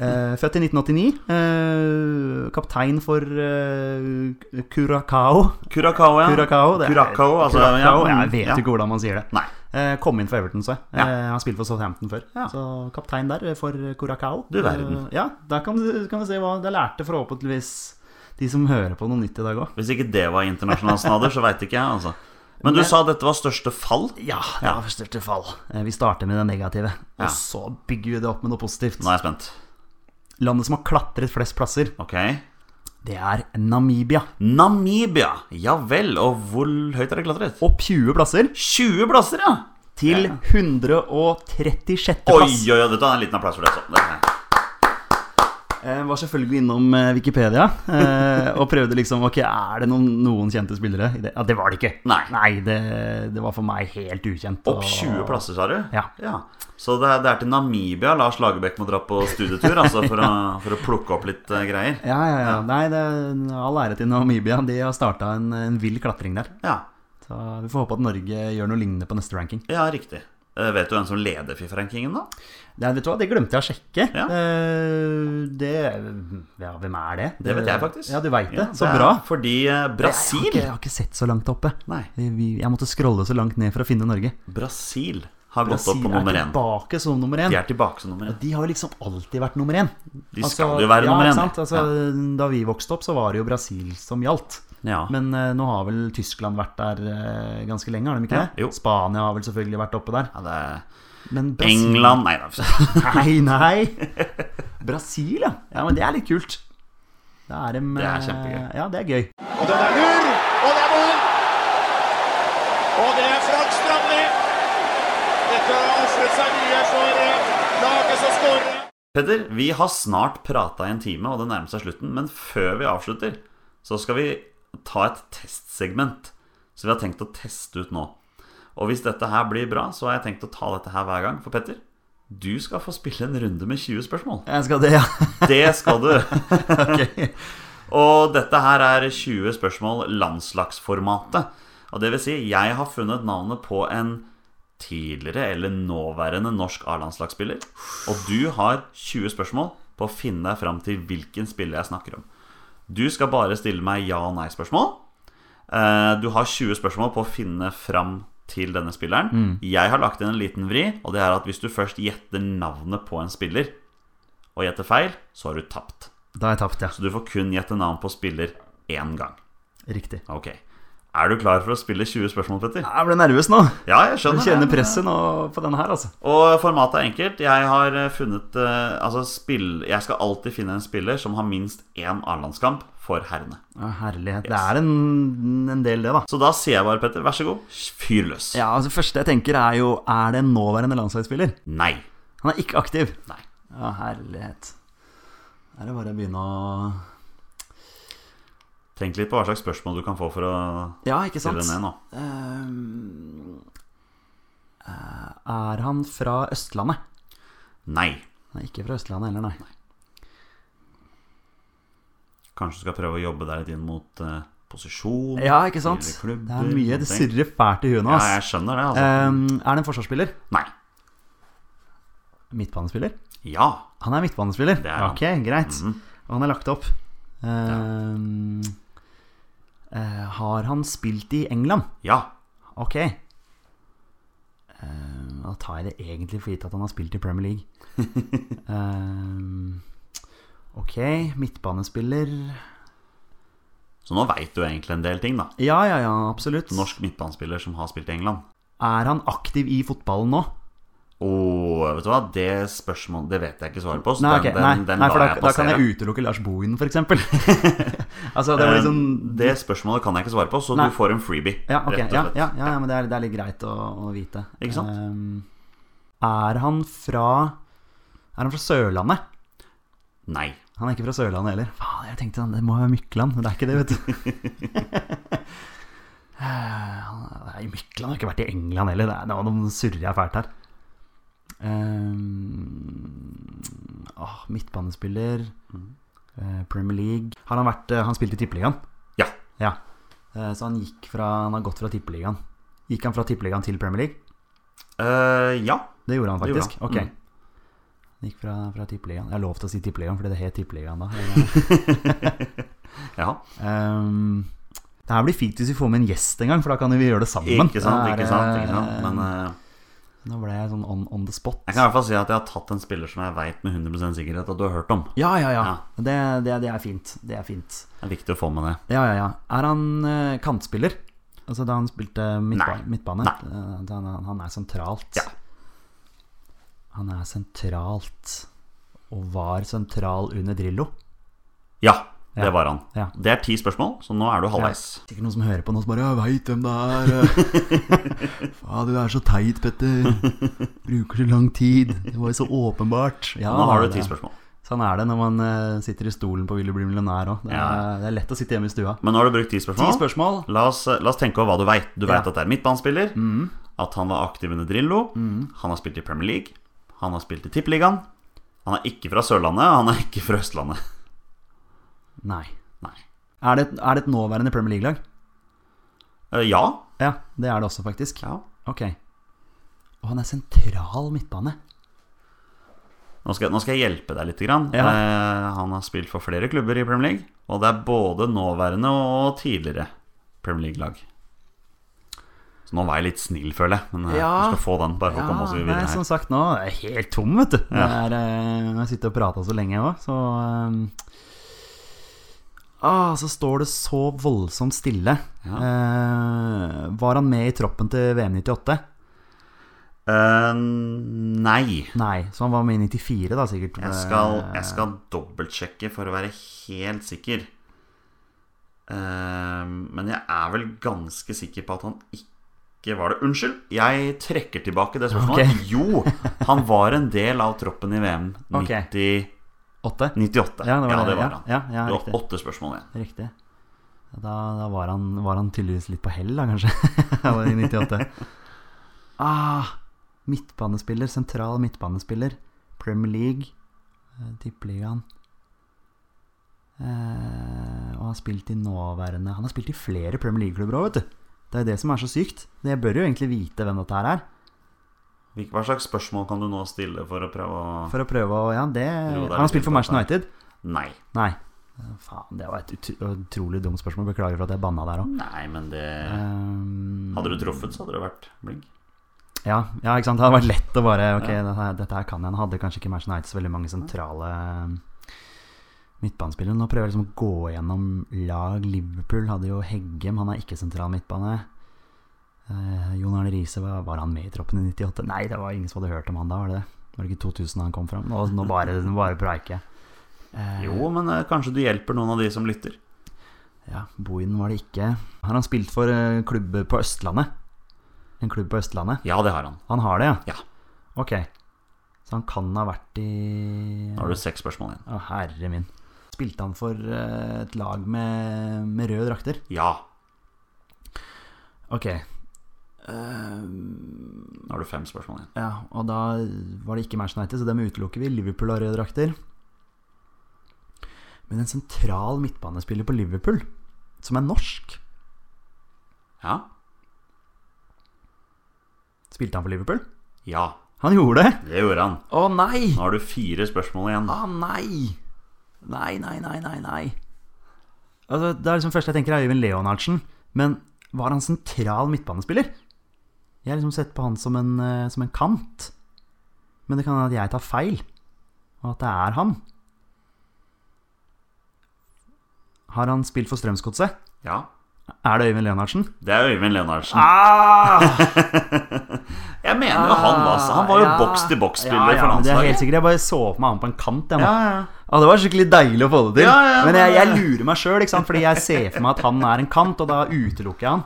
eh, født i 1989. eh, kaptein for eh, Curacao. Curacao, ja. Curacao, det er- Curacao, altså, ja, Curacao, mm, jeg vet ja. ikke hvordan man sier det. Nei. Eh, kom inn for Everton, så jeg. Ja. Eh, han spilte for Southampton før. Ja. Så kaptein der eh, for Curacao. Du verden. Eh, ja, der kan, du- kan vi se hva Det lærte forhåpentligvis de som hører på noe nytt i dag òg. Hvis ikke det var internasjonal snadder, så veit ikke jeg, altså. Men du Men- sa dette var største fall? Ja, det er største fall. Eh, Vi starter med det negative, Ja. og så bygger vi det opp med noe positivt. Nå er jeg spent. Landet som har klatret flest plasser, Ok. det er Namibia. Namibia. Ja vel. Og hvor høyt er det klatret? Opp 20 plasser 20 plasser, ja! til 136. Oi, plass. oi, oi. Dette er en liten applaus for det. Så. Det- Eh, var selvfølgelig innom eh, Wikipedia eh, og prøvde liksom Ok, er det noen, noen kjente spillere? i det? Ja, det var det ikke. Nei. det, det var for meg helt ukjent. og- Opp 20 plasser, sa du? Ja. Så det er, det er til Namibia Lars Lagerbäck må dra på studietur, altså, for, å, for å plukke opp litt eh, greier? Ja, ja, ja. Nei, det, all ære til Namibia. De har starta en, en vill klatring der. Ja. Så vi får håpe at Norge gjør noe lignende på neste ranking. ja riktig. Eh, Vet du hvem som leder Fifa-rankingen, da? Nei, vet du hva, det glemte jeg å sjekke. Ja. Eh, Det Ja, hvem er det? Det vet jeg faktisk. Ja, du veit det. Ja, Så er bra. Fordi eh, Jeg har, Brasil ikke, jeg har ikke sett så langt oppe. Nei. Vi- Jeg måtte scrolle så langt ned for å finne Norge. Brasil har gått opp Brasil på er nummer én. tilbake som nummer én. De er tilbake som nummer Og én. De har jo liksom alltid vært nummer én. De skal jo være Altså, ja, nummer ikke én. Sant? Altså, Da vi vokste opp, så var det jo Brasil som gjaldt. Ja. Men eh, nå har vel Tyskland vært der eh, ganske lenge, har de ikke Ja, det? jo. Spania har vel selvfølgelig vært oppe der. Ja, det er Men Brasil England Nei da. Nei, nei! Brasil, ja. ja. Men det er litt kult. Det er, dem, Det er eh, kjempegøy. Ja, det er gøy. Og den er lur, og det er mål! Og det er Frank Strandli. Dette har ofret seg mye for eh, laget som skårer. Petter, vi har snart prata i en time, og det nærmer seg slutten. Men før vi avslutter, så skal vi ta et testsegment som vi har tenkt å teste ut nå. Og hvis dette her blir bra, så har jeg tenkt å ta dette her hver gang. For Petter, du skal få spille en runde med 20 spørsmål. Jeg skal det, ja. Det skal du. Ok. Og dette her er 20 spørsmål landslagsformatet. Og det vil si, jeg har funnet navnet på en tidligere eller nåværende norsk A-landslagsspiller. Og du har 20 spørsmål på å finne deg fram til hvilken spiller jeg snakker om. Du skal bare stille meg ja- og nei-spørsmål. Eh, Du har 20 spørsmål på å finne fram til denne spilleren. Jeg har lagt inn en liten vri, og det er at hvis du først gjetter navnet på en spiller, og gjetter feil, så har du tapt. Da har jeg tapt, ja. Så du får kun gjette navn på spiller én gang. Riktig. Ok. Er du klar for å spille 20 spørsmål, Petter? Jeg ble nervøs nå. Ja, jeg skjønner. Jeg kjenner det. presset nå på denne her, altså. Og formatet er enkelt. Jeg har eh, funnet eh, Altså, spill Jeg skal alltid finne en spiller som har minst én A-landskamp for herrene. Ja, herlighet. Det er en, en del, det, da. Så da sier jeg bare, Petter, vær så god, fyr løs. Ja, altså første jeg tenker er jo Er det en nåværende landslagsspiller? Nei. Han er ikke aktiv. Nei. Ja, herlighet. Da er det bare å begynne å Tenk litt på hva slags spørsmål du kan få for å Ja, ikke sant? stille ned nå. Ehm, er han fra Østlandet? Nei. Han er ikke fra Østlandet heller, nei. Kanskje du skal prøve å jobbe deg litt inn mot eh, posisjon. Ja, ikke sant? Tidligere klubber, Det er mye Det sånne ting. surrer fælt i huet nå, Ja, ass. jeg skjønner det, altså. Ehm, er det en forsvarsspiller? Nei. Midtbanespiller? Ja. Han er midtbanespiller. Det er han. Mhm. Ok, greit. Og han er lagt opp. Ehm, eh, har han spilt i England? Ja. Ok. Ehm, da tar jeg det egentlig for gitt at han har spilt i Premier League. Ehm, ok, midtbanespiller Så nå veit du egentlig en del ting, da. Ja, ja, ja, absolutt. Norsk midtbanespiller som har spilt i England. Er han aktiv i fotballen nå? Åh, vet du hva? Det spørsmålet Det vet jeg ikke svaret på. Så Nei, ok, den, den, nei, den nei for lar jeg da, da kan passere. jeg utelukke Lars Bohin, for eksempel. altså, det var liksom Eh, det spørsmålet kan jeg ikke svare på, så Nei. du får en freebie. Ja, ok, rett og ja, slett. ja, ja, ja, men det er, det er litt greit å, å vite. Ikke sant? Ehm, er han fra Er han fra Sørlandet? Nei. Han er ikke fra Sørlandet heller. Faen, jeg tenkte sånn, det må være Mykland, men det er ikke det, vet du. Eh, han er i Mykland, han har ikke vært i England heller. Det er, nå- nå surrer jeg fælt her. Ehm, åh, midtbanespiller, Mm. eh, Premier League Har han vært eh, Han spilte i Tippeligaen? Ja. Ja. Eh, Så han gikk fra Han har gått fra Tippeligaen. Gikk han fra Tippeligaen til Premier League? Eh, ja. Det gjorde han Det gjorde faktisk. han. Mm. Ok. Han gikk fra, fra Tippeligaen. Jeg har lov til å si Tippeligaen, fordi det het Tippeligaen da. ja. Ehm, det her blir fint hvis vi får med en gjest en gang, for da kan vi gjøre det sammen. Ikke sant, Det er, ikke sant. Ikke sant. eh, Men eh, Nå ble jeg sånn on, on the spot. jeg kan i hvert fall si at jeg har tatt en spiller som jeg veit med 100 sikkerhet at du har hørt om. Ja, ja, ja. Det, det, det er fint. Det er fint. Det er viktig å få med det. Ja, ja, ja. Er han eh, kantspiller? Altså da han spilte midtba Nei. midtbane? Nei. Eh, da Han, han er sentralt. Ja. Han er sentralt og var sentral under Drillo. Ja, Ja. det var han. Ja. Det er ti spørsmål, så nå er du halvveis. Sikkert noen som hører på nå som bare 'Jeg veit hvem det er'. Faen, du er så teit, Petter. Bruker så lang tid. Det var jo så åpenbart. Ja, Nå har du det er ti det. spørsmål. Sånn er det når man eh, sitter i stolen på Vil du bli millionær òg. Det, er- Ja. det er lett å sitte hjemme i stua. Men nå har du brukt ti Ti spørsmål. spørsmål. La oss, eh, la oss tenke over hva du veit. Du veit Ja. Mm. at det er midtbanespiller. At han var aktiv under Drillo. Han har spilt i Premier League. Han har spilt i Tippeligaen. Han er ikke fra Sørlandet, og han er ikke fra Østlandet. Nei. Nei. Er det, er det et nåværende Premier League-lag? Eh, ja. Ja, det er det også, faktisk. ja. Ok. Og han er sentral midtbane. Nå, skal, nå skal jeg hjelpe deg litt. Grann. Ja. Eh, han har spilt for flere klubber i Premier League. Og det er både nåværende og tidligere Premier League-lag. Så nå var jeg litt snill, føler jeg. Men eh, Ja. du skal få den, bare for å komme oss videre Ah, nei, sånn som her. sagt, nå er jeg helt tom, vet du. Jeg, er, eh, jeg sitter og prater så lenge òg, så eh, ah, Så står det så voldsomt stille. Eh, var han med i troppen til VM 98? Eh, nei. Nei, så han var med i 94, da, sikkert. Jeg skal, Eh. jeg skal dobbeltsjekke for å være helt sikker. Eh, men jeg er vel ganske sikker på at han ikke var det. Unnskyld, jeg trekker tilbake det spørsmålet. Ok. Jo, han var en del av troppen i VM Ok. 90, eh, Åtte? 98. Ja, det var det. var Ja, han. ja, ja, du riktig. har åtte spørsmål igjen. Riktig. Da, da var, han, var han tydeligvis litt på hell, da, kanskje. Han var I 98. Ah, midtbanespiller. Sentral midtbanespiller. Premier League. eh, Tippeligaen. Eh, og har spilt i nåværende Han har spilt i flere Premier League-klubber òg, vet du. Det er jo det som er så sykt. Det- Jeg bør jo egentlig vite hvem dette her er. Hvilke- Hva slags spørsmål kan du nå stille for å prøve å For å prøve å Ja, det Jo, det er Han har litt spilt for inntatt der. Manchester United. Nei. Nei. Eh, Faen, det var et ut- utrolig dumt spørsmål. Beklager for at jeg banna der òg. Nei, men det Um, Hadde du truffet, så hadde du vært blink. ja, ja, ikke sant. Det hadde vært lett å bare Ok, dette, her- dette her kan jeg. Nå hadde kanskje ikke Manchester United så veldig mange sentrale um, midtbanespillere. Nå prøver jeg liksom å gå gjennom lag. Liverpool hadde jo Heggem, han er ikke sentral midtbane. Eh, Jon Arne Riise, var, var han med i troppen i 98? Nei, det var ingen som hadde hørt om han da, var det det? Var det ikke 2000 han kom fram? Nå, nå bare, nå bare preiker jeg. Eh, Jo, men eh, kanskje du hjelper noen av de som lytter. Ja, Bohin var det ikke. Har han spilt for eh, klubb på Østlandet? En klubb på Østlandet? Ja, det har han. Han har det, ja? Ja. Ok. Så han kan ha vært i Nå har du seks spørsmål igjen. Å, herre min. Spilte han for eh, et lag med, med røde drakter? Ja. Ok. Nå har du fem spørsmål igjen. Ja, og da var det ikke Manchester United, så dem utelukker vi. Liverpool har røde drakter. Men en sentral midtbanespiller på Liverpool, som er norsk Ja? Spilte han for Liverpool? Ja, Han gjorde det! det gjorde han. Å nei! Nå har du fire spørsmål igjen. Å Ah, nei! Nei, nei, nei, nei, nei. Altså, det er liksom først jeg tenker er Øyvind Leonardsen, men var han sentral midtbanespiller? Jeg har liksom sett på han som en, eh, som en kant. Men det kan hende at jeg tar feil, og at det er han. Har han spilt for Strømsgodset? Ja. Er det Øyvind Leonardsen? Det er Øyvind Leonardsen. Jeg mener jo han var Han var jo Ah! Ja. boks-til-boks-spiller for men det er helt landslaget. sikkert. Jeg bare så på meg han på en kant. Jeg, nå. Ja, ja. Ja, det var skikkelig deilig å få det til. Ja, ja, men ja, jeg, ja. jeg lurer meg sjøl, fordi jeg ser for meg at han er en kant, og da utelukker jeg han.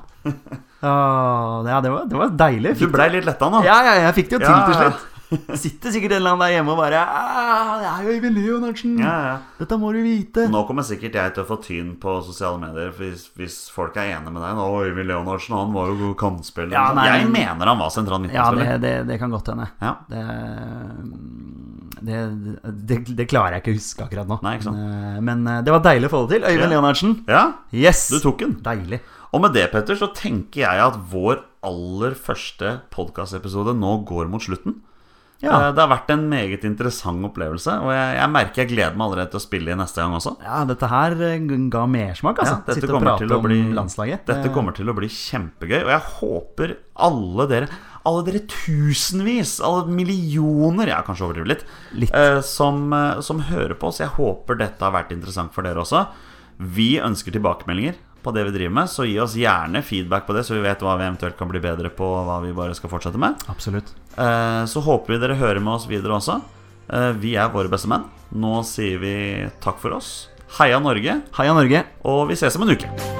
Åh, ja, det var, det var deilig. Du blei litt letta nå. Ja, ja, jeg fikk det jo til Ja, til ja. slutt. Sitter sikkert en eller annen der hjemme og bare «Ah, Det er jo Øyvind Leonardsen! Ja, ja. Dette må du vite! Nå kommer sikkert jeg til å få tyn på sosiale medier hvis, hvis folk er enige med deg. Nå, Øyvind Leonardsen, han var jo god kantspiller. Ja, nei, jeg men- mener han var sentral Ja, det, midtbanespiller. det, det kan godt hende. Ja. Det, det, det, det klarer jeg ikke å huske akkurat nå. Nei, ikke sant. Men, eh, Men eh, det var deilig å få det til. Øyvind Ja. Leonardsen. ja, Yes! du tok den. Deilig. Og med det, Petter, så tenker jeg at vår aller første podkastepisode nå går mot slutten. Ja. Eh, Det har vært en meget interessant opplevelse, og jeg, jeg merker jeg gleder meg allerede til å spille i neste gang også. Ja, dette her eh, ga mersmak, altså. Ja, dette Sitte og kommer prate til å om bli, landslaget. Dette Eh, kommer til å bli kjempegøy, og jeg håper alle dere, alle dere tusenvis, alle millioner, jeg kanskje overdriver litt, Litt. eh, som, eh, som hører på oss. Jeg håper dette har vært interessant for dere også. Vi ønsker tilbakemeldinger på det vi driver med, så gi oss gjerne feedback på det, så vi vet hva vi eventuelt kan bli bedre på, og hva vi bare skal fortsette med. Absolutt. Eh, Så håper vi dere hører med oss videre også. Eh, Vi er våre beste menn. Nå sier vi takk for oss. Heia Norge, Heia Norge! og vi ses om en uke.